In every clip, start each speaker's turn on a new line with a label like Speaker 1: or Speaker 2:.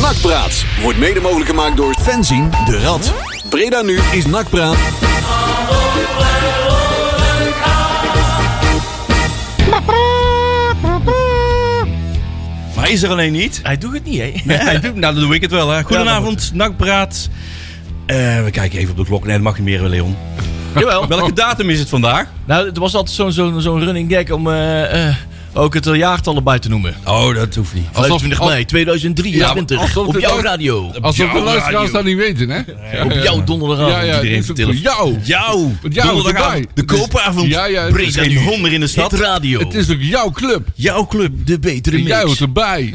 Speaker 1: Nakpraat wordt mede mogelijk gemaakt door Fenzin de Rad. Breda nu is Nakpraat.
Speaker 2: Maar hij is er alleen niet.
Speaker 3: Hij doet het niet, hè?
Speaker 2: Nee, hij doet- nou, dan doe ik het wel. Hè. Goedenavond, Nakpraat. Eh, we kijken even op de klok. Nee, dat mag niet meer, eh, Leon.
Speaker 3: Jawel.
Speaker 4: Oh.
Speaker 2: Welke datum is het vandaag?
Speaker 3: Nou, het was altijd zo'n zo'n zo'n running gag om eh, eh, ook het eh, jaartal erbij te noemen.
Speaker 2: Oh, dat hoeft niet.
Speaker 3: 25
Speaker 4: als-
Speaker 3: mei 2023
Speaker 4: Ja, alsof
Speaker 3: op
Speaker 4: het
Speaker 3: jouw
Speaker 4: ook-
Speaker 3: radio. Op
Speaker 4: Alsof de
Speaker 2: jouw
Speaker 4: luisteraars
Speaker 2: radio.
Speaker 4: dat niet weten, hè? Ja,
Speaker 3: jouw
Speaker 4: ja, ja,
Speaker 3: donderdagavond.
Speaker 4: ja,
Speaker 2: iedereen
Speaker 4: dus
Speaker 2: vertelt.
Speaker 4: op jou.
Speaker 2: Jou!
Speaker 4: Met jou
Speaker 2: Donderdagavond,
Speaker 4: erbij.
Speaker 2: De
Speaker 4: Dus-
Speaker 2: koopavond.
Speaker 4: Ja, ja, het
Speaker 2: Er is
Speaker 4: is
Speaker 2: geen honder in de
Speaker 3: Hit
Speaker 2: stad.
Speaker 3: radio.
Speaker 4: Het is ook jouw club.
Speaker 2: Jouw club, de betere
Speaker 4: En
Speaker 2: mix.
Speaker 4: jij hoort erbij.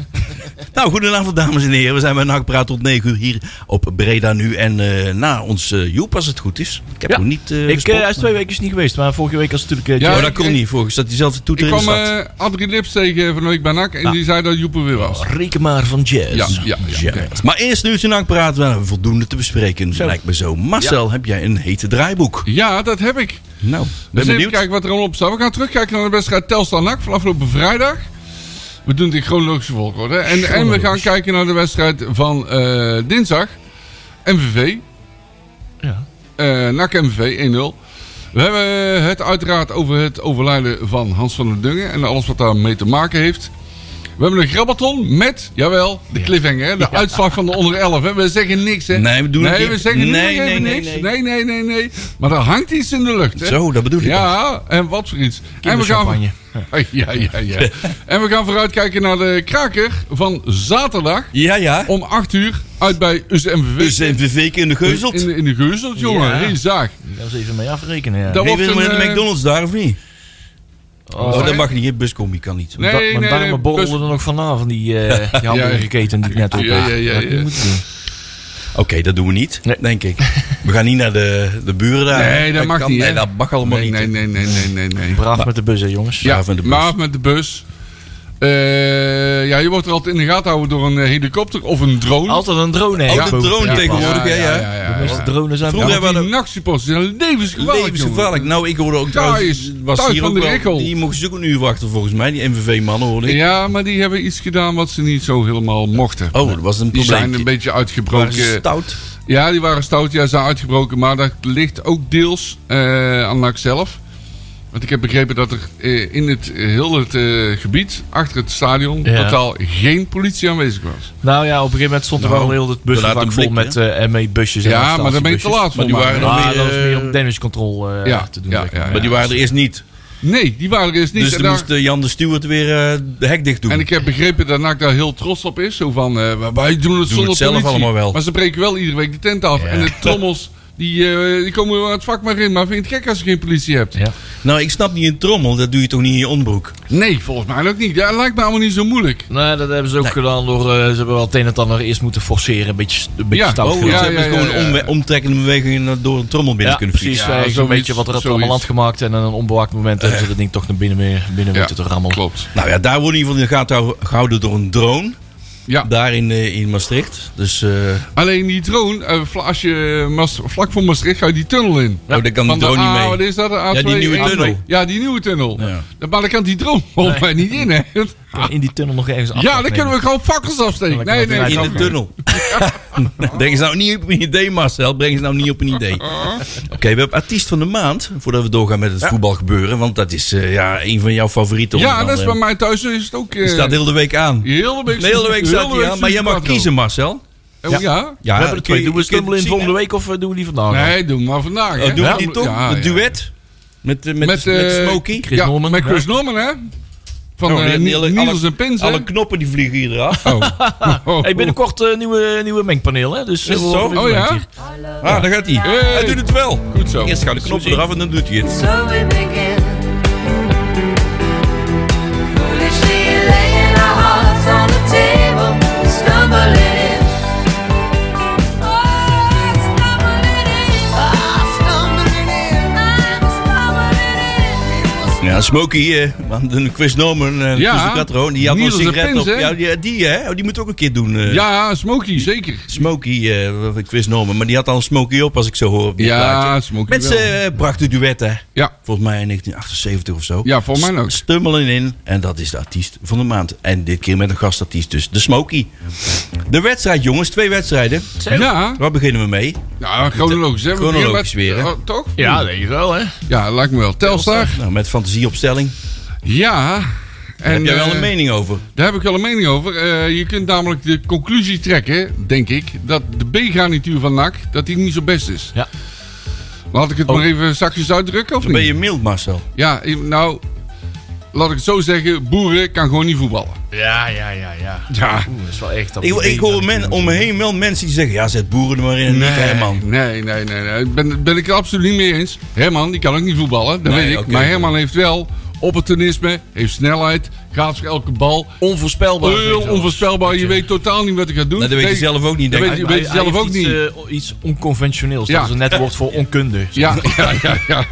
Speaker 2: Nou, goedenavond dames en heren. We zijn bij Nakpraat tot 9 uur hier op Breda nu. En eh, na ons eh, Joep, als het goed is. Ik heb
Speaker 3: Ja.
Speaker 2: hem niet eh
Speaker 3: ik,
Speaker 2: gespot.
Speaker 3: eh, hij is twee weken niet geweest, maar vorige week was het natuurlijk... eh,
Speaker 4: Ja,
Speaker 2: Oh,
Speaker 3: Joe.
Speaker 2: dat kon niet. Volgens dat diezelfde
Speaker 4: Ik
Speaker 2: toeter in de
Speaker 4: kwam
Speaker 2: stad.
Speaker 4: eh André Lips tegen van de week bij NAC en die zei dat Joep er weer was.
Speaker 3: Reken maar van jazz.
Speaker 4: Ja, ja, ja. oké.
Speaker 2: Maar eerst nu uurtje Nakpraat. We hebben voldoende te bespreken, lijkt me zo. Marcel, heb jij een hete draaiboek?
Speaker 4: Ja, dat heb ik.
Speaker 2: Nou, ben
Speaker 4: Dus even
Speaker 2: benieuwd.
Speaker 4: kijken wat er allemaal op staat. We gaan terugkijken naar de wedstrijd Telstar NAC van afgelopen vrijdag. We doen het in chronologische volgorde. En, en we gaan kijken naar de wedstrijd van eh, dinsdag. MVV.
Speaker 3: Ja.
Speaker 4: Eh NAC MVV 1-0. We hebben het uiteraard over het overlijden van Hans van der Dungen. En alles wat daarmee te maken heeft. We hebben een grabbelton met, jawel, de cliffhanger. hè, De uitslag van de onder 11. hè. We zeggen niks, hè?
Speaker 2: Nee, we doen
Speaker 4: nee,
Speaker 2: het
Speaker 4: we
Speaker 2: niet.
Speaker 4: zeggen nu
Speaker 2: Nee,
Speaker 4: nog even
Speaker 2: nee, nee,
Speaker 4: niks. Nee nee. nee, nee, nee. Maar er hangt iets in de lucht, hè?
Speaker 2: Zo, dat bedoel ik.
Speaker 4: Ja, en wat voor iets. En we gaan,
Speaker 3: Kinderchampagne.
Speaker 4: ja, ja, ja. en we gaan vooruitkijken naar de kraker van zaterdag
Speaker 2: Ja, ja.
Speaker 4: om 8 uur uit bij USMVV.
Speaker 2: Dus een VV in de geuzelt.
Speaker 4: eh, In, de- in de geuzeld, jongen.
Speaker 3: Ja.
Speaker 4: Geen zaak.
Speaker 3: Daar eens even mee afrekenen. Ja.
Speaker 4: Dat
Speaker 2: Nee,
Speaker 4: wordt
Speaker 2: willen we
Speaker 4: een,
Speaker 2: in de
Speaker 4: eh,
Speaker 2: McDonald's daar of niet?
Speaker 3: Oh,
Speaker 2: Oh,
Speaker 4: nee.
Speaker 2: dat mag niet. Een buscombi kan niet.
Speaker 4: Nee,
Speaker 3: Da-
Speaker 4: nee,
Speaker 3: mijn
Speaker 4: nee. dus-
Speaker 3: darmen borrelden er nog vanaf van die, eh die hamburgerketen die ik net op
Speaker 4: Ja, ja, ja,
Speaker 3: Dat had ik
Speaker 4: ja.
Speaker 3: niet moeten doen.
Speaker 2: Oké, dat doen we niet,
Speaker 3: Nee.
Speaker 2: denk ik. We gaan niet naar de, de buren daar.
Speaker 4: Nee, dat mag niet, hè?
Speaker 2: Nee, dat mag allemaal
Speaker 4: Nee,
Speaker 2: niet.
Speaker 4: nee, nee, nee, nee, nee. nee.
Speaker 3: Braaf met de bus, hè, jongens.
Speaker 4: Ja,
Speaker 2: Braaf met de bus.
Speaker 4: maar af met de bus. Eh, ja, je wordt er altijd in de gaten houden door een eh, helikopter of een drone.
Speaker 3: Altijd een drone, hè?
Speaker 2: Oh, de
Speaker 3: boven
Speaker 2: drone
Speaker 3: de
Speaker 2: tegenwoordig. ja, ja.
Speaker 3: De meeste drones zijn...
Speaker 2: Vroeger
Speaker 4: Ja, want
Speaker 2: hebben
Speaker 4: die
Speaker 2: we-
Speaker 4: nachtsupporters zijn levensgevaarlijk.
Speaker 2: Levensgevaarlijk.
Speaker 4: jongen.
Speaker 2: Nou, ik hoorde ook trouwens...
Speaker 4: Thijs,
Speaker 2: Was
Speaker 4: Thijs
Speaker 2: hier
Speaker 4: van
Speaker 2: ook
Speaker 4: de
Speaker 2: wel-
Speaker 4: Rikkel.
Speaker 2: Die mochten ze ook een uur wachten, volgens mij. Die MVV-mannen, hoorde ik.
Speaker 4: Ja, maar die hebben iets gedaan wat ze niet zo helemaal mochten.
Speaker 2: Oh, dat was een
Speaker 4: Die
Speaker 2: probleem.
Speaker 4: zijn een beetje
Speaker 2: waren
Speaker 4: uitgebroken.
Speaker 2: ze stout.
Speaker 4: Ja, die waren stout. Ja, ze zijn uitgebroken. Maar dat ligt ook deels eh, aan NAC zelf. Want ik heb begrepen dat er eh, in het, eh, heel het eh, gebied, achter het stadion,
Speaker 3: Ja.
Speaker 4: totaal geen politie aanwezig was.
Speaker 3: Nou ja, op een gegeven moment stond er
Speaker 2: Nou,
Speaker 3: wel heel het
Speaker 2: te laat
Speaker 3: busvak
Speaker 2: om
Speaker 3: vol
Speaker 2: flikken,
Speaker 3: met eh ME-busjes en
Speaker 4: Ja, maar daar ben je te
Speaker 3: arrestatiebusjes.
Speaker 4: laat voor.
Speaker 2: Maar die waren nog
Speaker 3: Maar
Speaker 2: meer,
Speaker 3: Nou, dat was meer
Speaker 2: eh,
Speaker 3: om damage control eh,
Speaker 4: ja,
Speaker 3: te doen.
Speaker 4: ja,
Speaker 3: zeg maar.
Speaker 4: ja,
Speaker 2: Maar die waren er eerst niet.
Speaker 4: Nee, die waren er eerst niet.
Speaker 2: Dus
Speaker 4: en,
Speaker 2: dan
Speaker 4: daar-
Speaker 2: moest eh, Jan de Stewart weer eh, de hek dicht doen.
Speaker 4: en ik heb begrepen dat NAC daar heel trots op is. Zo van, eh, wij doen het
Speaker 2: het
Speaker 4: zonder
Speaker 2: zelf
Speaker 4: politie.
Speaker 2: allemaal wel.
Speaker 4: Maar ze breken wel iedere week de tent af. En de trommels, die, eh, die komen wel het vak maar in. Maar vind je het gek als je geen politie hebt?
Speaker 3: Ja.
Speaker 2: Nou, ik snap niet een trommel. Dat doe je toch niet in je onderbroek?
Speaker 4: Nee, volgens mij ook niet. Ja, lijkt me allemaal niet zo moeilijk.
Speaker 3: Nou, dat hebben ze ook gedaan door... eh, ze hebben wel het een en het ander eerst moeten forceren. Een beetje, een beetje
Speaker 4: Ja,
Speaker 3: stout
Speaker 4: oh,
Speaker 2: Oh,
Speaker 3: gedaan.
Speaker 2: ze
Speaker 4: ja,
Speaker 2: hebben
Speaker 4: ja,
Speaker 2: gewoon
Speaker 4: ja,
Speaker 2: een
Speaker 4: ja.
Speaker 2: omwe- omtrekkende bewegingen door een trommel binnen
Speaker 3: Ja,
Speaker 2: kunnen
Speaker 3: precies.
Speaker 2: fietsen.
Speaker 4: Ja,
Speaker 3: eh, zo'n
Speaker 4: zoiets,
Speaker 3: beetje wat er
Speaker 4: zoiets. Eh.
Speaker 3: allemaal land gemaakt. En aan een onbewaakt moment hebben ze dat ding toch naar binnen, weer, binnen weten te rammelen.
Speaker 4: Klopt.
Speaker 2: Nou ja, daar worden in ieder geval in de gaten hou- gehouden door een drone.
Speaker 4: Ja.
Speaker 2: Daar in, eh, in Maastricht. Dus eh,
Speaker 4: Alleen die drone, eh, vla- als je eh, Maas- vlak voor Maastricht ga je die tunnel in.
Speaker 2: oh, daar kan
Speaker 4: Van
Speaker 2: de
Speaker 4: de
Speaker 2: drone
Speaker 4: A,
Speaker 2: niet
Speaker 4: wat
Speaker 2: mee.
Speaker 4: is dat? De A2,
Speaker 2: Ja, die nieuwe
Speaker 4: A2.
Speaker 2: tunnel.
Speaker 4: Ja, die nieuwe tunnel.
Speaker 2: Ja.
Speaker 4: Maar daar kan die drone volgens mij niet in, hè?
Speaker 3: Kan Ah, In die tunnel nog ergens af.
Speaker 4: Ja, dan kunnen we gewoon fakkels afsteken.
Speaker 3: Dan
Speaker 4: Nee,
Speaker 3: lekker
Speaker 4: nee.
Speaker 3: wat
Speaker 2: In
Speaker 4: nee.
Speaker 2: de tunnel. Breng ze nou niet op een idee, Marcel. Breng ze nou niet op een idee. Oké, we hebben artiest van de maand. Voordat we doorgaan met het voetbalgebeuren. Want dat is eh, ja, een van jouw favorieten.
Speaker 4: Ja,
Speaker 2: onder
Speaker 4: dat is bij
Speaker 2: andere.
Speaker 4: mij thuis is het ook... eh,
Speaker 2: Die staat heel de week aan.
Speaker 4: de hele week,
Speaker 2: De hele week staat hij aan. Maar jij mag
Speaker 4: Sint-Patrick.
Speaker 2: kiezen, Marcel.
Speaker 4: Oh, ja?
Speaker 2: Ja,
Speaker 3: we hebben er
Speaker 2: kun
Speaker 3: twee.
Speaker 2: je-
Speaker 3: Doen we
Speaker 2: kun je
Speaker 3: Stumble in
Speaker 2: zien,
Speaker 3: volgende
Speaker 2: hè?
Speaker 3: week of eh, doen we die vandaag? al?
Speaker 4: Nee, doe maar vandaag. hè?
Speaker 2: Oh, doen
Speaker 4: Ja,
Speaker 2: we die toch?
Speaker 4: ja,
Speaker 2: Het
Speaker 4: ja.
Speaker 2: duet? Met, eh, met,
Speaker 4: Met,
Speaker 2: met,
Speaker 4: eh,
Speaker 2: Smokey?
Speaker 3: Chris
Speaker 4: ja,
Speaker 3: Norman.
Speaker 4: Met Chris Norman, hè? Van
Speaker 2: Oh, die-
Speaker 4: eh,
Speaker 2: die hele-
Speaker 4: Niels
Speaker 2: alle-
Speaker 4: en Pins, hè?
Speaker 2: Alle knoppen die vliegen hier eraf.
Speaker 4: Oh. Oh.
Speaker 3: Hey, binnenkort eh, nieuwe, nieuwe mengpaneel, hè? Dus, eh,
Speaker 2: Is het
Speaker 3: we
Speaker 2: zo?
Speaker 3: horen
Speaker 4: Oh, ja?
Speaker 3: hier.
Speaker 2: Ah, daar gaat hij.
Speaker 4: Hey.
Speaker 2: Hij doet het wel.
Speaker 4: Goed zo.
Speaker 2: Eerst gaan de knoppen eraf en dan doet hij het.
Speaker 5: So we begin. Foolishly laying our hearts on the table, stumbling in. Oh, stumbling in. Oh, stumbling in. I'm stumbling in.
Speaker 2: Ja, Smokey, eh, want een Chris Norman, eh
Speaker 4: Ja.
Speaker 2: ja. die had wel een
Speaker 4: Niels de
Speaker 2: sigaret
Speaker 4: Prins,
Speaker 2: op.
Speaker 4: hè?
Speaker 2: Ja, die, die, hè? Oh, die moet ook een keer doen. eh.
Speaker 4: Ja, Smokey, zeker.
Speaker 2: Smokey, eh Chris Norman, maar die had al een Smokey op als ik zo hoor op dit plaatje.
Speaker 4: Ja, Smokey
Speaker 2: Met
Speaker 4: wel.
Speaker 2: zijn prachtige duet, hè?
Speaker 4: Ja.
Speaker 2: Volgens mij in 1978 of zo.
Speaker 4: Ja, volgens mij ook.
Speaker 2: Stummelen in, en dat is de artiest van de maand. En dit keer met een gastartiest, dus de Smokey. De wedstrijd, jongens. Twee wedstrijden.
Speaker 4: Ja,
Speaker 2: Waar beginnen we mee?
Speaker 4: ja chronologisch. Hè? We beginnen
Speaker 2: Chronologisch
Speaker 4: met-
Speaker 2: weer, hè?
Speaker 4: Oh, toch?
Speaker 6: Ja, denk ik wel, hè?
Speaker 4: Ja, lijkt me wel. Telstar.
Speaker 2: Nou, met fantasieopstelling.
Speaker 4: Ja. En,
Speaker 2: Heb jij wel
Speaker 4: eh,
Speaker 2: een mening over?
Speaker 4: Daar heb ik wel een mening over. Eh, je kunt namelijk de conclusie trekken, denk ik, dat de B-garnituur van NAC dat die niet zo best is.
Speaker 6: Ja.
Speaker 4: Laat ik het maar even zachtjes uitdrukken, of
Speaker 2: Oh. Dan
Speaker 4: niet?
Speaker 2: ben je mild, Marcel.
Speaker 4: Ja, eh, nou, laat ik het zo zeggen. Boeren kan gewoon niet voetballen.
Speaker 6: Ja, ja, ja, ja.
Speaker 4: Ja.
Speaker 6: Oeh, dat is wel echt... dat
Speaker 2: Ik, ik hoor
Speaker 6: dat-
Speaker 2: men, om me heen wel mensen die zeggen... Ja, zet boeren er maar in en niet Herman.
Speaker 4: Nee, nee, nee. nee. Ben, ben ik het absoluut niet mee eens. Herman, die kan ook niet voetballen, dat
Speaker 2: Nee,
Speaker 4: weet ik.
Speaker 2: oké.
Speaker 4: Maar Herman heeft wel opportunisme, heeft snelheid, gaat voor elke bal.
Speaker 6: Onvoorspelbaar.
Speaker 4: Heel onvoorspelbaar. Je weet totaal niet wat hij gaat doen.
Speaker 2: Nou, dat weet je
Speaker 4: Nee.
Speaker 2: zelf ook niet,
Speaker 4: dat
Speaker 2: denk
Speaker 4: weet
Speaker 2: ik.
Speaker 4: je- weet zelf ook
Speaker 6: iets,
Speaker 4: niet.
Speaker 6: eh, iets onconventioneels.
Speaker 4: Ja.
Speaker 6: Dat is een net woord voor onkunde.
Speaker 4: Ja, ja, ja, ja.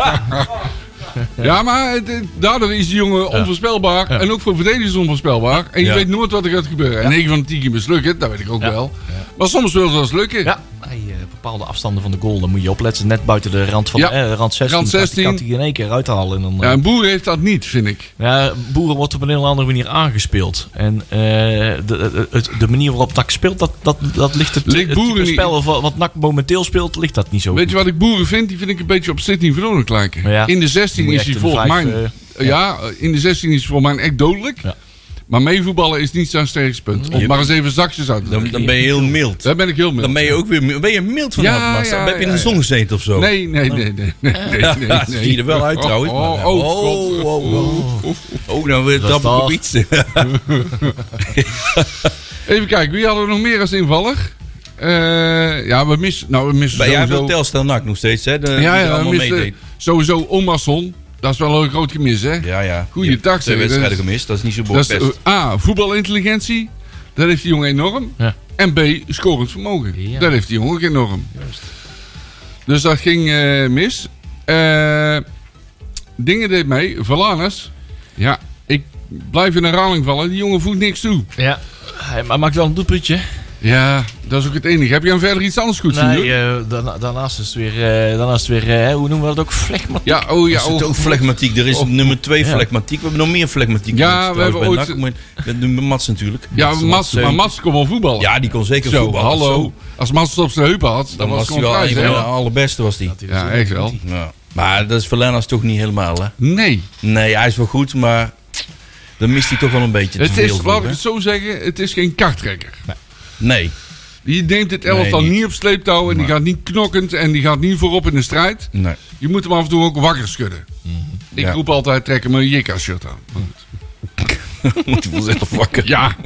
Speaker 4: Ja, maar het- het- daardoor is die jongen onvoorspelbaar. En ook voor verdedigers onvoorspelbaar. En je
Speaker 2: Ja.
Speaker 4: weet nooit wat er gaat gebeuren. En 9 van de 10 keer mislukt het, dat weet ik ook
Speaker 6: Ja.
Speaker 4: wel. Maar soms wil het wel eens lukken.
Speaker 6: Ja, bij eh, bepaalde afstanden van de goal, dan moet je opletten. Net buiten de rand van
Speaker 4: Ja.
Speaker 6: eh, rand 16.
Speaker 4: Rand
Speaker 6: kan die-
Speaker 4: 16.
Speaker 6: Kan hij in één keer uithalen. En dan, eh,
Speaker 4: Ja, een boer heeft dat niet, vind ik.
Speaker 6: Ja, boeren wordt op een heel andere manier aangespeeld. En eh, de, de, eh, het- de manier waarop NAC speelt, dat, dat, dat ligt het,
Speaker 4: Ligt
Speaker 6: het
Speaker 4: Boeren
Speaker 6: type
Speaker 4: niet-
Speaker 6: spel wat, wat NAC momenteel speelt, ligt dat niet zo
Speaker 4: Weet je wat ik boeren vind? Die vind ik een beetje op Sydney Vrolijk lijken.
Speaker 6: Ja.
Speaker 4: In de 16
Speaker 6: Moet je
Speaker 4: is hij
Speaker 6: echt een
Speaker 4: volgens mij...
Speaker 6: vijf, eh,
Speaker 4: ja, in de 16 is hij volgens mij echt dodelijk.
Speaker 6: Ja.
Speaker 4: Maar meevoetballen is niet zijn sterkste punt. Om maar eens even zachtjes uit te
Speaker 2: Dan,
Speaker 4: drukken.
Speaker 2: dan ben je heel mild.
Speaker 4: Daar ben ik heel mee.
Speaker 2: Dan ben je ook weer mild. Ben je mild vanavond,
Speaker 4: Ja,
Speaker 2: Marcel?
Speaker 4: ja,
Speaker 2: heb je in
Speaker 4: ja,
Speaker 2: de
Speaker 4: ja.
Speaker 2: zon gezeten of zo?
Speaker 4: Nee, nee, nee, nee. nee, nee, nee,
Speaker 2: Ja, zie je er wel uit, trouwens.
Speaker 4: Oh, oh,
Speaker 2: Maar,
Speaker 4: oh,
Speaker 2: oh,
Speaker 4: God.
Speaker 2: Ook nou weer trap ik op
Speaker 6: toch-
Speaker 2: iets.
Speaker 4: Even kijken, wie hadden we nog meer als invaller? Eh, ja, we missen... Nou, we missen
Speaker 2: Maar jij
Speaker 4: sowieso...
Speaker 2: wil Telstar NAC nog steeds, hè? De,
Speaker 4: ja,
Speaker 2: die er
Speaker 4: ja, we
Speaker 2: allemaal meedeed.
Speaker 4: missen sowieso Omarsson. Dat is wel een groot gemis, hè?
Speaker 2: Ja, ja.
Speaker 4: Goeiedag,
Speaker 2: Je hebt Twee
Speaker 4: zeg, dat
Speaker 2: wedstrijden
Speaker 4: is-
Speaker 2: gemist, dat is niet zo
Speaker 4: dus. Dat is,
Speaker 2: best.
Speaker 4: eh, A, voetbalintelligentie. Dat heeft die jongen enorm.
Speaker 6: Ja.
Speaker 4: En B, scorend vermogen.
Speaker 6: Ja.
Speaker 4: Dat heeft die jongen ook enorm. Dus dat ging eh, mis. Eh, dingen deed mee. Valanus. Ja, ik blijf in herhaling vallen. Die jongen voegt niks toe.
Speaker 6: goed? Ja, hij ma- maakt wel een doelpuntje.
Speaker 4: Ja, dat is ook het enige. Heb je hem verder iets anders goed zien
Speaker 6: Nee,
Speaker 4: doen?
Speaker 6: eh, daarna- daarnaast is het weer, eh, daarnaast weer eh, hoe noemen we dat ook, flegma.
Speaker 4: Ja, oh ja.
Speaker 2: Is het
Speaker 4: oh.
Speaker 2: ook flegmatiek? Er is nummer 2
Speaker 6: Ja.
Speaker 2: flegmatiek. We hebben nog meer flegmatiek.
Speaker 4: Ja,
Speaker 2: mensen
Speaker 4: we
Speaker 2: trouwens
Speaker 4: hebben
Speaker 2: bij NAC. Met de Mats natuurlijk.
Speaker 4: ja, Mats, maar Mats kon wel voetballen.
Speaker 2: Ja, die kon zeker
Speaker 4: Zo,
Speaker 2: voetballen.
Speaker 4: hallo.
Speaker 2: Zo,
Speaker 4: Als Mats het op zijn heupen had, dan,
Speaker 2: Dan
Speaker 4: was
Speaker 2: was
Speaker 4: het
Speaker 2: hij
Speaker 4: gewoon
Speaker 2: wel een
Speaker 4: thuis.
Speaker 2: van de
Speaker 4: hè?
Speaker 2: allerbeste was die.
Speaker 4: Ja, echt wel.
Speaker 2: Ja. Maar dat is Verlenaars toch niet helemaal, hè?
Speaker 4: Nee.
Speaker 2: Nee, hij is wel goed, maar dan mist hij toch wel een beetje te
Speaker 4: Het is,
Speaker 2: veel
Speaker 4: laat
Speaker 2: voor,
Speaker 4: ik
Speaker 2: hè?
Speaker 4: het zo zeggen, het is geen kartrekker.
Speaker 2: Nee.
Speaker 4: Die neemt het elftal
Speaker 2: Nee,
Speaker 4: niet.
Speaker 2: niet.
Speaker 4: op sleeptouw en die gaat niet knokkend en die gaat niet voorop in de strijd.
Speaker 2: nee.
Speaker 4: Je moet hem af en toe ook wakker schudden. Ik
Speaker 2: Ja.
Speaker 4: roep altijd, trek hem een Jikka-shirt aan.
Speaker 2: Moet hij vanzelf wakker.
Speaker 4: Ja.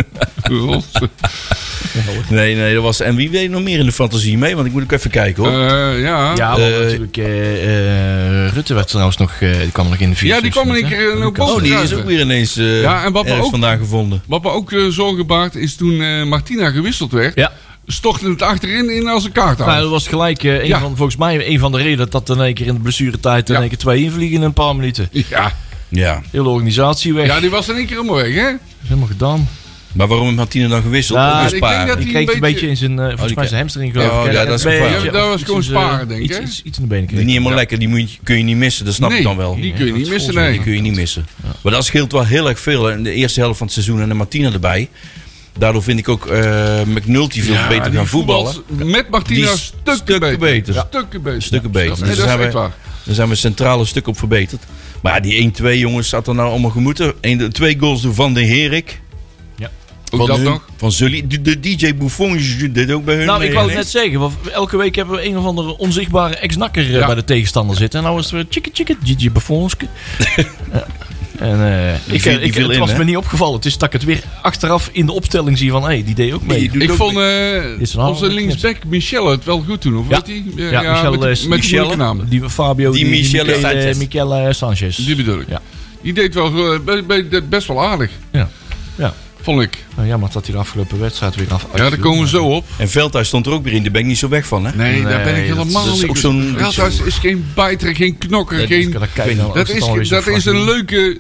Speaker 2: Nee, nee, dat was... En wie weet nog meer in de fantasie mee? Want ik moet ook even kijken, hoor.
Speaker 4: Eh, ja. ja.
Speaker 6: Ja, want
Speaker 2: Eh,
Speaker 6: natuurlijk. eh, eh, Rutte werd trouwens nog, eh, die kwam nog in de vier.
Speaker 4: die kwam in een keer in een
Speaker 2: oh, die is ook weer ineens eh
Speaker 4: Ja, en wat me
Speaker 2: ergens
Speaker 4: ook-
Speaker 2: vandaag gevonden.
Speaker 4: Wat me ook eh, zorgen baart is toen eh, Martina gewisseld werd,
Speaker 6: Ja.
Speaker 4: stortte het achterin in als een kaart
Speaker 6: Nou, dat was gelijk eh, een
Speaker 4: Ja.
Speaker 6: van, volgens mij een van de redenen dat in één keer in de blessuretijd in
Speaker 4: Ja.
Speaker 6: één keer twee invliegen in een paar minuten.
Speaker 4: Ja.
Speaker 2: Ja.
Speaker 6: Hele organisatie weg.
Speaker 4: ja, die was in één keer helemaal weg, hè?
Speaker 6: Is helemaal gedaan.
Speaker 2: Maar waarom heeft Martina dan gewisseld?
Speaker 6: Nou,
Speaker 2: Ook
Speaker 6: ik
Speaker 2: weer
Speaker 4: denk
Speaker 2: sparen.
Speaker 4: dat
Speaker 6: Die
Speaker 4: een
Speaker 6: kreeg een
Speaker 4: beetje-
Speaker 6: beetje in zijn, eh, volgens
Speaker 2: die
Speaker 6: mij
Speaker 2: kreeg-
Speaker 6: zijn hamstring geloof
Speaker 2: Oh,
Speaker 6: ik.
Speaker 2: ja, dat is
Speaker 6: Een beetje
Speaker 2: gevaarlijk.
Speaker 4: Ja, dat was
Speaker 6: of
Speaker 4: gewoon
Speaker 6: iets in zijn-
Speaker 4: sparen, denk ik,
Speaker 6: Iets,
Speaker 4: hè?
Speaker 6: iets, iets in de benen
Speaker 2: Niet
Speaker 6: kreeg.
Speaker 2: helemaal lekker. Die moet je- kun je niet missen. Dat snap
Speaker 4: nee,
Speaker 2: ik dan wel.
Speaker 4: die kun je niet missen,
Speaker 2: Die
Speaker 4: nee.
Speaker 2: kun je niet missen. Maar dat scheelt wel heel erg veel. hè. In de eerste helft van het seizoen en de Martina erbij. Daardoor vind ik ook eh, McNulty veel
Speaker 4: Ja,
Speaker 2: beter
Speaker 4: die
Speaker 2: gaan voetballen.
Speaker 4: voetbalt Met Martina
Speaker 2: Die is
Speaker 4: stukken,
Speaker 2: stukken
Speaker 4: beter.
Speaker 2: beter. Ja.
Speaker 4: Stukken beter.
Speaker 2: Stukken
Speaker 4: Ja,
Speaker 2: beter.
Speaker 4: nee,
Speaker 2: Dus
Speaker 4: dat
Speaker 2: daar
Speaker 4: is
Speaker 2: zijn,
Speaker 4: echt
Speaker 2: we,
Speaker 4: waar.
Speaker 2: daar zijn we centrale stuk op verbeterd. Maar ja, die 1-2 jongens, zat er nou allemaal gemoeten. Eén- de- twee goals door Van de Herik.
Speaker 4: Ook
Speaker 2: Van
Speaker 4: dat
Speaker 2: hun,
Speaker 4: nog?
Speaker 2: Van Zully. De, de DJ Buffon deed ook bij hun eh,
Speaker 6: Nou,
Speaker 2: mee,
Speaker 6: ik wou het
Speaker 2: hè?
Speaker 6: net zeggen. Want elke week hebben we een of andere onzichtbare ex-nakker eh,
Speaker 4: Ja.
Speaker 6: bij de tegenstander zitten. En nou is het weer tjikke tjikke, Gigi Buffonske. Ja. En eh, ik,
Speaker 2: viel- die
Speaker 6: ik,
Speaker 2: viel
Speaker 6: het
Speaker 2: in,
Speaker 6: was
Speaker 2: hè?
Speaker 6: me niet opgevallen. Het is dat ik het weer achteraf in de opstelling zie van... Hé, hey, die deed ook mee.
Speaker 2: Die doet
Speaker 4: Ik
Speaker 2: ook
Speaker 4: vond
Speaker 2: mee.
Speaker 4: eh,
Speaker 6: Is een
Speaker 4: onze
Speaker 6: aardig
Speaker 4: linksback Michelle het wel goed doen, of
Speaker 6: Ja.
Speaker 4: wat die? Eh,
Speaker 6: Ja, Michelle
Speaker 4: met, die-
Speaker 6: is-
Speaker 4: met die
Speaker 2: Michelle.
Speaker 4: moeilijke naam.
Speaker 6: Die Fabio,
Speaker 2: Die
Speaker 6: die, die
Speaker 2: Michele
Speaker 6: Michele
Speaker 2: Sanchez.
Speaker 6: Sanchez. Michele Sanchez.
Speaker 4: Die bedoel ik.
Speaker 6: Ja.
Speaker 4: Die deed wel eh, be- be- de- best wel aardig.
Speaker 6: Ja. Ja.
Speaker 4: Vond ik.
Speaker 6: Nou, jammer dat hij de afgelopen wedstrijd weer af.
Speaker 4: Ja, daar komen we zo op.
Speaker 2: En Veldhuis stond er ook weer in. Daar ben ik niet zo weg van, hè?
Speaker 4: Nee, daar ben ik
Speaker 6: Nee, dat-
Speaker 4: helemaal
Speaker 2: dat is
Speaker 4: niet.
Speaker 2: ook zo'n-
Speaker 4: Veldhuis is geen bijter, geen knokker, geen...
Speaker 6: Dat, kijken, nou,
Speaker 4: Dat
Speaker 6: als het
Speaker 4: is,
Speaker 6: alweer zo
Speaker 4: dat
Speaker 6: vlak
Speaker 4: is een
Speaker 6: niet-
Speaker 4: leuke,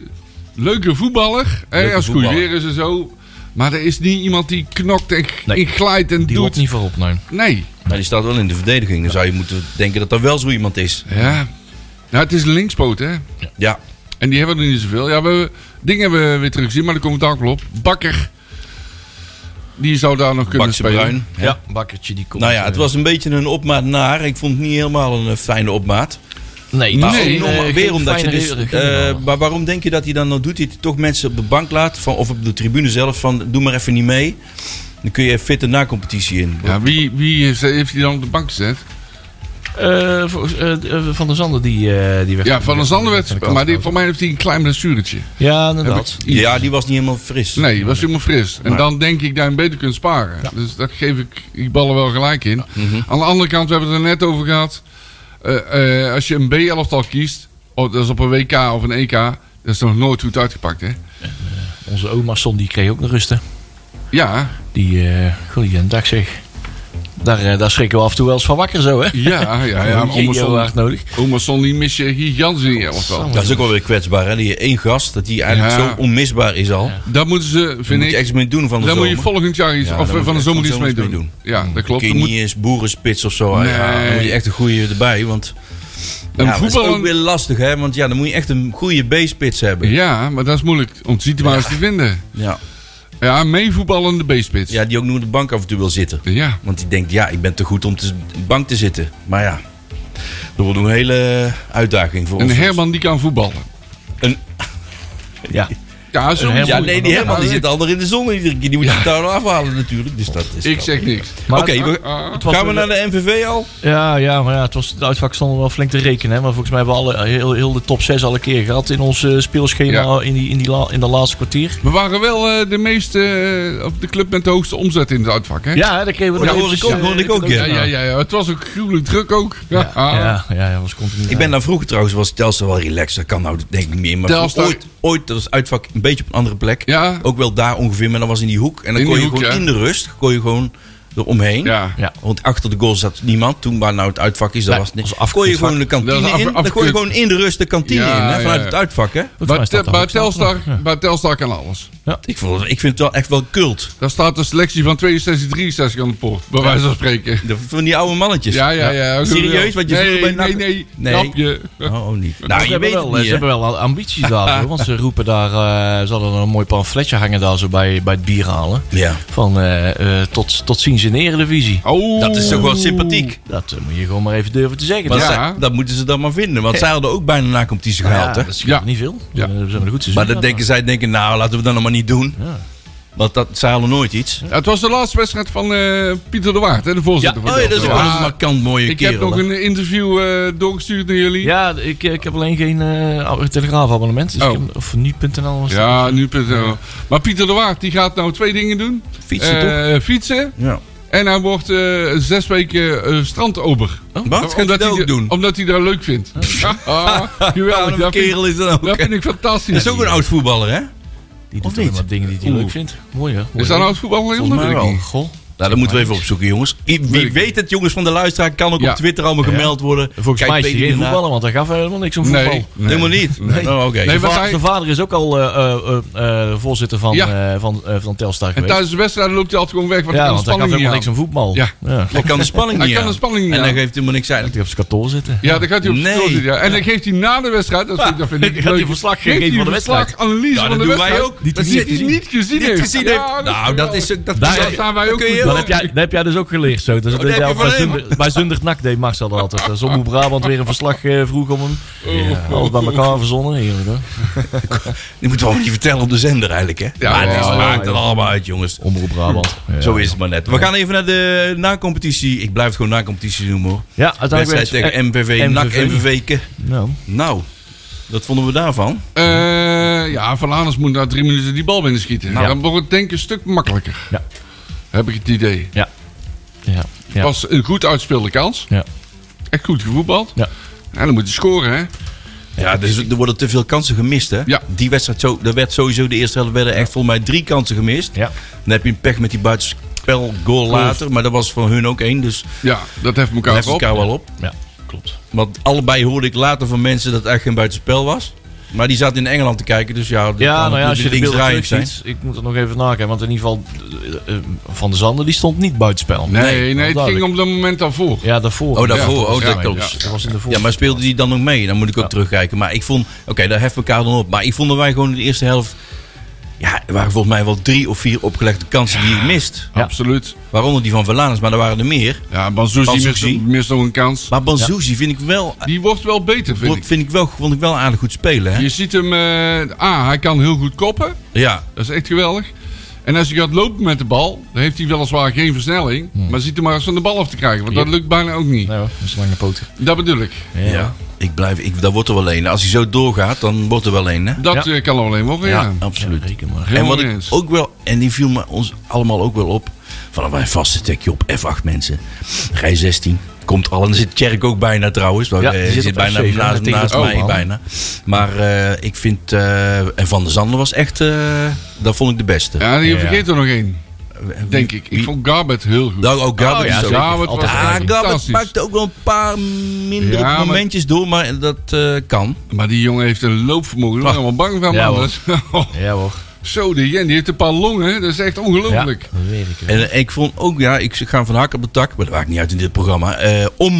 Speaker 4: leuke voetballer. hè,
Speaker 2: Leuke
Speaker 4: als het goed
Speaker 2: voetballer.
Speaker 4: weer is en zo. Maar er is niet iemand die knokt en, g-
Speaker 6: Nee.
Speaker 4: en glijdt en
Speaker 6: Die
Speaker 4: doet.
Speaker 6: loopt niet voorop, nee.
Speaker 4: Nee.
Speaker 2: Maar Nou, die staat wel in de verdediging. Dan zou je moeten denken dat er wel zo iemand is.
Speaker 4: Ja. Nou, het is een linkspoot, hè.
Speaker 2: Ja.
Speaker 4: En die hebben we er niet zoveel. Ja, we, dingen hebben we weer teruggezien, maar daar komen we het ook wel op. Bakker. die zou daar nog kunnen
Speaker 2: Bakse
Speaker 4: spelen.
Speaker 2: Bruin. hè?
Speaker 6: Ja, bakkertje die komt. eh,
Speaker 2: Nou ja, het was een beetje een opmaat naar. Ik vond het niet helemaal een eh, fijne opmaat.
Speaker 6: Nee,
Speaker 4: Nee,
Speaker 2: Maar
Speaker 4: nee,
Speaker 2: ook nog maar
Speaker 6: eh,
Speaker 2: weer
Speaker 6: geen
Speaker 2: omdat je
Speaker 6: fijne
Speaker 2: dus,
Speaker 6: reden- geen
Speaker 2: eh,
Speaker 6: reden.
Speaker 2: maar waarom denk je dat hij dan nou doet? Dat hij toch mensen op de bank laat van, of op de tribune zelf van doe maar even niet mee. Dan kun je fit de na-competitie in.
Speaker 4: Ja, wie, wie heeft, heeft die dan op de bank gezet?
Speaker 6: Eh, voor- eh, eh, van der Zander die, eh, die weg.
Speaker 4: Ja, Van der Zander werd...
Speaker 6: kant
Speaker 4: Maar die,
Speaker 6: geschoten.
Speaker 4: voor mij heeft hij een klein blessuretje.
Speaker 6: Ja,
Speaker 4: Heb
Speaker 6: inderdaad.
Speaker 4: ik iets-
Speaker 2: Ja, die was niet helemaal fris.
Speaker 4: Nee, was helemaal fris. En dan denk ik dat je hem beter kunt sparen. Dus daar geef ik die ballen wel gelijk in.
Speaker 2: Mhm.
Speaker 4: Aan de andere kant, we hebben het er net over gehad. Eh, eh, als je een B-elftal kiest, oh, dat is op een WK of een EK, dat is nog nooit goed uitgepakt, hè?
Speaker 6: Onze oma Son die kreeg ook nog rust, hè.
Speaker 4: Ja,
Speaker 6: Die, eh goeie een dag zeg. Daar, eh, daar schrikken we af en toe wel eens van wakker zo, hè.
Speaker 4: ja, ja. ja.
Speaker 6: Jeetje,
Speaker 4: Oma
Speaker 6: heel
Speaker 4: Son-
Speaker 6: hard nodig.
Speaker 4: Oma Son, die mis je gigantisch in je elftal.
Speaker 2: Dat is ook wel weer kwetsbaar. Hè? Die één gast, dat die eigenlijk
Speaker 4: Ja.
Speaker 2: zo onmisbaar is al.
Speaker 4: Daar moeten ze,
Speaker 2: Daar
Speaker 4: vind
Speaker 2: moet je
Speaker 4: ik...
Speaker 2: echt iets mee doen van de
Speaker 4: Daar moet
Speaker 2: zomer.
Speaker 4: je volgend jaar iets,
Speaker 2: Ja,
Speaker 4: of
Speaker 2: daar
Speaker 4: eh,
Speaker 2: moet
Speaker 4: van de
Speaker 2: je
Speaker 4: zomer
Speaker 2: echt
Speaker 4: iets
Speaker 2: van
Speaker 4: mee
Speaker 2: de
Speaker 4: doen.
Speaker 2: zomer iets Mm.
Speaker 4: Ja, dat klopt.
Speaker 2: Kun je
Speaker 4: Er moet-
Speaker 2: niet eens boerenspits of zo. Ja, dan
Speaker 4: Nee.
Speaker 2: moet je echt een goede erbij. Want ja,
Speaker 4: Een
Speaker 2: maar het is
Speaker 4: voetballer-
Speaker 2: ook weer lastig. Hè? Want ja, dan moet je echt een goede B-spits hebben.
Speaker 4: Ja, maar dat is moeilijk. Om ziet maar eens te vinden.
Speaker 2: Ja.
Speaker 4: Ja, meevoetballende B-spits.
Speaker 2: ja, die ook nu op de bank af en toe wil zitten.
Speaker 4: ja.
Speaker 2: Want die denkt, ja, ik ben te goed om te bank te zitten. Maar ja, dat wordt een hele uitdaging voor
Speaker 4: Een
Speaker 2: ons.
Speaker 4: Herman die kan voetballen.
Speaker 2: Een-
Speaker 6: Ja.
Speaker 4: Ja, zo.
Speaker 6: Herman-
Speaker 2: Ja, nee, die Herman die
Speaker 4: Ja,
Speaker 2: zit al in de zon iedere keer. Die moet je daar nou afhalen natuurlijk. Dus dat is
Speaker 4: Ik zeg niks.
Speaker 2: Oké,
Speaker 6: Maar het-
Speaker 2: we-
Speaker 6: Ah, het was
Speaker 2: gaan we
Speaker 6: weer-
Speaker 2: naar de MVV al?
Speaker 6: Ja, ja, maar ja, het was, de uitvak stonden wel flink te rekenen. Hè? Maar volgens mij hebben we alle, heel, heel de top 6 al een keer gehad in ons eh, speelschema
Speaker 4: Ja.
Speaker 6: in, die, in, die la, in de laatste kwartier.
Speaker 4: We waren wel eh, de meeste, eh, of de club met de hoogste omzet in het uitvak, hè?
Speaker 6: Ja, hè, dat kregen we
Speaker 2: Oh,
Speaker 6: nog
Speaker 2: dat
Speaker 6: eventjes,
Speaker 2: hoor ik ook,
Speaker 6: eh,
Speaker 2: hoor ik ook,
Speaker 4: Ja, ja, ja, ja. Het was ook gruwelijk druk ook. Ja,
Speaker 6: Ja, ja, ja, ja, was continu.
Speaker 2: Ik ben daar vroeger trouwens, was Telstra wel relaxed. Dat kan nou denk ik niet meer. Maar
Speaker 4: Telstar-
Speaker 2: ooit, ooit, dat was uitvak een beetje op een andere plek.
Speaker 4: Ja.
Speaker 2: Ook wel daar ongeveer, maar dan was in die hoek. En dan
Speaker 4: In
Speaker 2: kon je
Speaker 4: die hoek,
Speaker 2: gewoon
Speaker 4: ja.
Speaker 2: in de rust, kon je gewoon eromheen.
Speaker 4: Ja.
Speaker 6: Ja.
Speaker 2: Want achter de goal zat niemand. Toen waar nou het uitvak is, dat
Speaker 6: Nee,
Speaker 2: was niks.
Speaker 6: was af-
Speaker 2: Kon je
Speaker 6: het vak-
Speaker 2: gewoon de
Speaker 4: dat
Speaker 2: kantine
Speaker 4: was af-
Speaker 2: in. Dan kon
Speaker 4: afgekut.
Speaker 2: je gewoon in de rust de kantine
Speaker 4: Ja,
Speaker 2: in. Hè, vanuit
Speaker 4: ja.
Speaker 2: het uitvak, hè.
Speaker 6: Volgens
Speaker 4: Bij,
Speaker 6: mij staat
Speaker 4: Te-
Speaker 6: daar
Speaker 4: bij,
Speaker 6: ook staan.
Speaker 4: Telstar, bij Telstar kan alles.
Speaker 2: Ik, vond, ik vind het wel echt wel kult.
Speaker 4: Daar staat de selectie van 62, 63 aan de poort. Bij wijze van spreken.
Speaker 2: De- van die oude mannetjes.
Speaker 4: Ja, ja, ja.
Speaker 2: Serieus, wat je
Speaker 4: nee,
Speaker 2: vroeger bij
Speaker 4: nee,
Speaker 2: NAC-
Speaker 4: nee,
Speaker 2: Nee.
Speaker 4: Grapje.
Speaker 2: Oh, oh, niet.
Speaker 6: Maar
Speaker 2: Nou,
Speaker 6: ze
Speaker 2: je
Speaker 6: hebben
Speaker 2: weet
Speaker 6: wel,
Speaker 2: het
Speaker 6: eh,
Speaker 2: niet,
Speaker 6: Ze
Speaker 2: hè.
Speaker 6: hebben wel al ambities daar, hoor, want ze roepen daar, eh, ze hadden een mooi pamfletje hangen daar zo bij, bij het bier halen.
Speaker 2: Ja.
Speaker 6: Van eh, eh, tot, tot ziens in de Eredivisie.
Speaker 4: Oh.
Speaker 2: Dat is toch wel sympathiek.
Speaker 6: Dat eh, moet je gewoon maar even durven te zeggen.
Speaker 2: Maar
Speaker 6: Dat-
Speaker 4: Ja.
Speaker 2: zij- dat moeten ze dan maar vinden. Want zij hadden ook bijna na competitie gehaald, hè.
Speaker 6: dat scheelt
Speaker 4: Ja.
Speaker 6: niet veel.
Speaker 4: Ja.
Speaker 6: Ja. We hebben een goed seizoen
Speaker 2: Maar dat denken zij denken, nou laten we dat nog maar niet doen. Want dat zij hadden nooit iets.
Speaker 4: Ja, het was de laatste wedstrijd van eh, Pieter de Waard, hè, de
Speaker 2: Ja,
Speaker 4: voorzitter van
Speaker 2: oh, ja, dat is ook
Speaker 4: Telstar.
Speaker 2: wel
Speaker 4: Ja,
Speaker 2: een markant mooie
Speaker 4: Ik heb
Speaker 2: kerel.
Speaker 4: nog
Speaker 2: hè.
Speaker 4: een interview eh, doorgestuurd naar jullie.
Speaker 6: Ja, ik, ik heb alleen geen eh, ab- telegraafabonnement. Dus
Speaker 4: Oh.
Speaker 6: ik heb- of nu.nl. was het.
Speaker 4: Ja, nu. Maar Pieter de Waard die gaat nou twee dingen doen:
Speaker 2: Fietsen, toch?
Speaker 4: Eh, fietsen
Speaker 2: Ja.
Speaker 4: en hij wordt eh, zes weken eh strandober.
Speaker 2: Wat? Gaat hij dat ook
Speaker 4: hij,
Speaker 2: doen?
Speaker 4: Omdat hij dat leuk vindt. Ah, geweldig.
Speaker 2: Een
Speaker 4: Dat vind, ik-
Speaker 2: kerel is dat ook.
Speaker 4: dat
Speaker 2: hè.
Speaker 4: vind ik fantastisch.
Speaker 2: Dat is ook een oud voetballer, hè?
Speaker 6: Die
Speaker 2: Of
Speaker 6: doet alleen
Speaker 2: niet?
Speaker 6: maar dingen die hij
Speaker 4: Oeh.
Speaker 6: leuk vindt. Mooi hè? Mooi,
Speaker 4: Is dat nou
Speaker 6: hè?
Speaker 4: een oud voetballer?
Speaker 2: Volgens mij wel.
Speaker 6: Goh.
Speaker 2: Nou, dat moeten we even opzoeken, jongens. I- Wie weet het, jongens van de luisteraar, kan ook
Speaker 4: Ja.
Speaker 2: op Twitter allemaal
Speaker 6: Ja.
Speaker 2: gemeld worden.
Speaker 6: Volgens mij is hij
Speaker 2: Peter
Speaker 6: geen
Speaker 2: hierna.
Speaker 6: voetballer, want hij gaf helemaal niks om voetbal.
Speaker 4: Nee, nee.
Speaker 2: Helemaal niet. Oh, oké.
Speaker 4: Nee,
Speaker 6: Zijn,
Speaker 4: want
Speaker 6: va-
Speaker 4: hij-
Speaker 6: zijn vader is ook al eh, eh, eh, eh, voorzitter van,
Speaker 4: Ja.
Speaker 6: eh, van, eh, van Telstar
Speaker 4: En
Speaker 6: geweest.
Speaker 4: tijdens de wedstrijd loopt hij altijd gewoon weg. Want
Speaker 6: ja,
Speaker 4: hij kan
Speaker 6: want
Speaker 4: de
Speaker 6: hij gaf
Speaker 4: spanning niet
Speaker 6: helemaal
Speaker 4: aan.
Speaker 6: niks om voetbal.
Speaker 4: Ja.
Speaker 2: Hij kan de spanning
Speaker 4: Hij
Speaker 2: niet
Speaker 4: kan
Speaker 2: aan.
Speaker 4: de spanning niet
Speaker 2: En dan
Speaker 4: aan.
Speaker 2: geeft hij helemaal niks uit.
Speaker 6: Ik heb zijn kantoor zitten.
Speaker 4: Ja, dan gaat hij op
Speaker 2: Nee.
Speaker 4: nee. zitten. Ja. En dan geeft hij na de wedstrijd, dat vind, ik- dat vind ik
Speaker 6: Gaat hij
Speaker 4: leuk.
Speaker 6: verslag
Speaker 4: Geeft
Speaker 6: geven
Speaker 4: hij
Speaker 6: van de
Speaker 4: verslag,
Speaker 6: wedstrijd?
Speaker 4: analyse
Speaker 2: Ja,
Speaker 4: van
Speaker 2: dat
Speaker 4: de
Speaker 2: doen
Speaker 4: wedstrijd.
Speaker 2: wij ook.
Speaker 4: Die
Speaker 2: Dat
Speaker 4: hij
Speaker 2: zit-
Speaker 4: niet gezien
Speaker 2: Niet
Speaker 4: heeft.
Speaker 2: gezien
Speaker 4: Ja, dat
Speaker 2: heeft. Nou, dat is ook... Dat
Speaker 6: Daar-
Speaker 2: is-
Speaker 4: Daar staan wij
Speaker 2: dat
Speaker 4: ook
Speaker 2: kun je
Speaker 4: goed
Speaker 2: heel
Speaker 6: Dat
Speaker 4: bij.
Speaker 6: heb, jij, dat heb jij dus ook geleerd zo. Dat,
Speaker 2: dat Oh, heb je van
Speaker 6: bij,
Speaker 2: hem.
Speaker 6: Zunder, bij Zundert NAC deed Max dat altijd. Als Omroep Brabant weer een verslag eh, vroeg om hem.
Speaker 4: Ja.
Speaker 6: Alles bij elkaar verzonnen. Heerlijk hoor.
Speaker 2: Die moeten we ook niet vertellen op de zender eigenlijk, hè?
Speaker 4: Ja,
Speaker 2: Maar het is-
Speaker 4: ja, ja,
Speaker 2: maakt het allemaal uit, jongens.
Speaker 6: Omroep Brabant. Ja.
Speaker 2: Zo is het maar net. We gaan even naar de na-competitie. Ik blijf het gewoon na-competitie noemen hoor.
Speaker 6: Ja, uiteindelijk
Speaker 2: Wedstrijd
Speaker 6: werd-
Speaker 2: tegen MVV,
Speaker 6: MVV.
Speaker 2: NAC, MVV. -ke.
Speaker 6: Nou,
Speaker 2: Nou, dat vonden we daarvan.
Speaker 4: Eh, ja, Van Aaners moet na drie minuten die bal binnen schieten. Nou,
Speaker 6: Ja.
Speaker 4: Dan wordt het denk ik een stuk makkelijker.
Speaker 6: Ja.
Speaker 4: Heb ik het idee.
Speaker 6: ja. ja.
Speaker 4: Was een goed uitspeelde kans.
Speaker 6: Ja.
Speaker 4: Echt goed gevoetbald.
Speaker 6: Ja.
Speaker 4: En dan moet je scoren, hè?
Speaker 2: Ja, dus er worden te veel kansen gemist hè.
Speaker 4: Ja.
Speaker 2: Die wedstrijd, zo, er werd sowieso de eerste helft werden echt volgens mij drie kansen gemist.
Speaker 6: Ja.
Speaker 2: Dan heb je een pech met die buitenspel goal later. Maar dat was van hun ook één, dus
Speaker 4: Ja, dat heft elkaar
Speaker 2: legt
Speaker 4: op.
Speaker 2: elkaar wel op.
Speaker 6: ja, klopt.
Speaker 2: Want allebei hoorde ik later van mensen dat het echt geen buitenspel was. Maar die zaten in Engeland te kijken, dus ja, dat
Speaker 6: Ja,
Speaker 2: kan
Speaker 6: nou ja, als je de
Speaker 2: natuurlijk
Speaker 6: beelden
Speaker 2: linksdraaiend zijn.
Speaker 6: terugziet, ik moet er nog even nakijken. Want in ieder geval, eh, eh, Van der Zanden die stond niet buitenspel.
Speaker 4: Nee, nee,
Speaker 6: wel
Speaker 4: het ging
Speaker 6: duidelijk.
Speaker 4: om dat moment daarvoor.
Speaker 6: Ja, daarvoor.
Speaker 2: Oh, daarvoor.
Speaker 4: Ja,
Speaker 2: oh,
Speaker 4: ja,
Speaker 2: dat
Speaker 4: ja,
Speaker 2: klopt.
Speaker 4: ja.
Speaker 6: Dat was in de voor.
Speaker 2: Ja, maar speelde die dan nog mee? Dan moet ik ook terugkijken. Maar ik vond, oké, daar heffen we elkaar dan op. Maar ik vond dat wij gewoon in de eerste helft Ja, er waren volgens mij wel drie of vier opgelegde kansen die je mist.
Speaker 6: Ja.
Speaker 4: Absoluut.
Speaker 2: Waaronder die van Verlanens, maar er waren er meer.
Speaker 4: Ja, Banzuzi
Speaker 2: Banzuzi.
Speaker 4: mist, mist nog een kans.
Speaker 2: Maar Banzuzi vind ik wel,
Speaker 4: Die wordt wel beter, vind ik.
Speaker 2: vind ik wel, vond ik wel aardig goed spelen. Hè?
Speaker 4: Je ziet hem... eh ah, hij kan heel goed koppen.
Speaker 2: Ja,
Speaker 4: Dat is echt geweldig. En als hij gaat lopen met de bal, dan heeft hij weliswaar geen versnelling. Maar ziet hem maar eens van de bal af te krijgen. Want dat lukt bijna ook niet.
Speaker 6: Nee hoor, dat is lange poot.
Speaker 4: Dat bedoel ik.
Speaker 6: Ja.
Speaker 2: ja. Ik blijf, ik, dat wordt er wel een. Als hij zo doorgaat, dan wordt er wel een. Hè?
Speaker 4: Dat
Speaker 6: Ja.
Speaker 4: eh, kan alleen mogen, ja.
Speaker 2: Ja, absoluut.
Speaker 4: Helemaal
Speaker 2: en wat ik
Speaker 4: eens.
Speaker 2: ook wel, en die viel me ons allemaal ook wel op. Van oh, wij vaste tekje op F8 mensen. Rij 16. Komt al. En er zit Tjerk ook bijna trouwens. Waar,
Speaker 6: Ja,
Speaker 2: eh,
Speaker 6: die
Speaker 2: die
Speaker 6: zit
Speaker 2: zit,
Speaker 6: op
Speaker 2: bijna
Speaker 6: F7,
Speaker 2: naast,
Speaker 6: tegen
Speaker 2: naast
Speaker 6: het
Speaker 2: mij
Speaker 6: Oman.
Speaker 2: bijna. Maar eh, ik vind. eh, en Van der Zanden was echt. eh, dat vond ik de beste.
Speaker 4: Ja, je
Speaker 6: Ja.
Speaker 4: vergeet er nog één, denk ik. Ik
Speaker 2: Wie-
Speaker 4: vond Oh, Garbet heel goed.
Speaker 2: Nou, ook Gabbert
Speaker 6: ja,
Speaker 2: is ook.
Speaker 6: zeker.
Speaker 4: Garbert was
Speaker 6: Altijd.
Speaker 2: Ah,
Speaker 4: echt
Speaker 2: Gabbert
Speaker 4: fantastisch.
Speaker 2: pakte ook wel een paar mindere
Speaker 4: Ja, maar-
Speaker 2: momentjes door, maar dat eh, kan.
Speaker 4: Maar die jongen heeft een loopvermogen. Daar ben ik helemaal bang van,
Speaker 6: Ja,
Speaker 4: man.
Speaker 6: hoor.
Speaker 4: Dat is-
Speaker 6: Ja hoor.
Speaker 4: Zo, die Jen, die heeft een paar longen. Dat is echt
Speaker 6: Ja,
Speaker 4: ongelooflijk.
Speaker 6: dat weet ik.
Speaker 2: En eh, ik vond ook, ja, ik ga van hak op de tak, maar dat maakt niet uit in dit programma. Eh om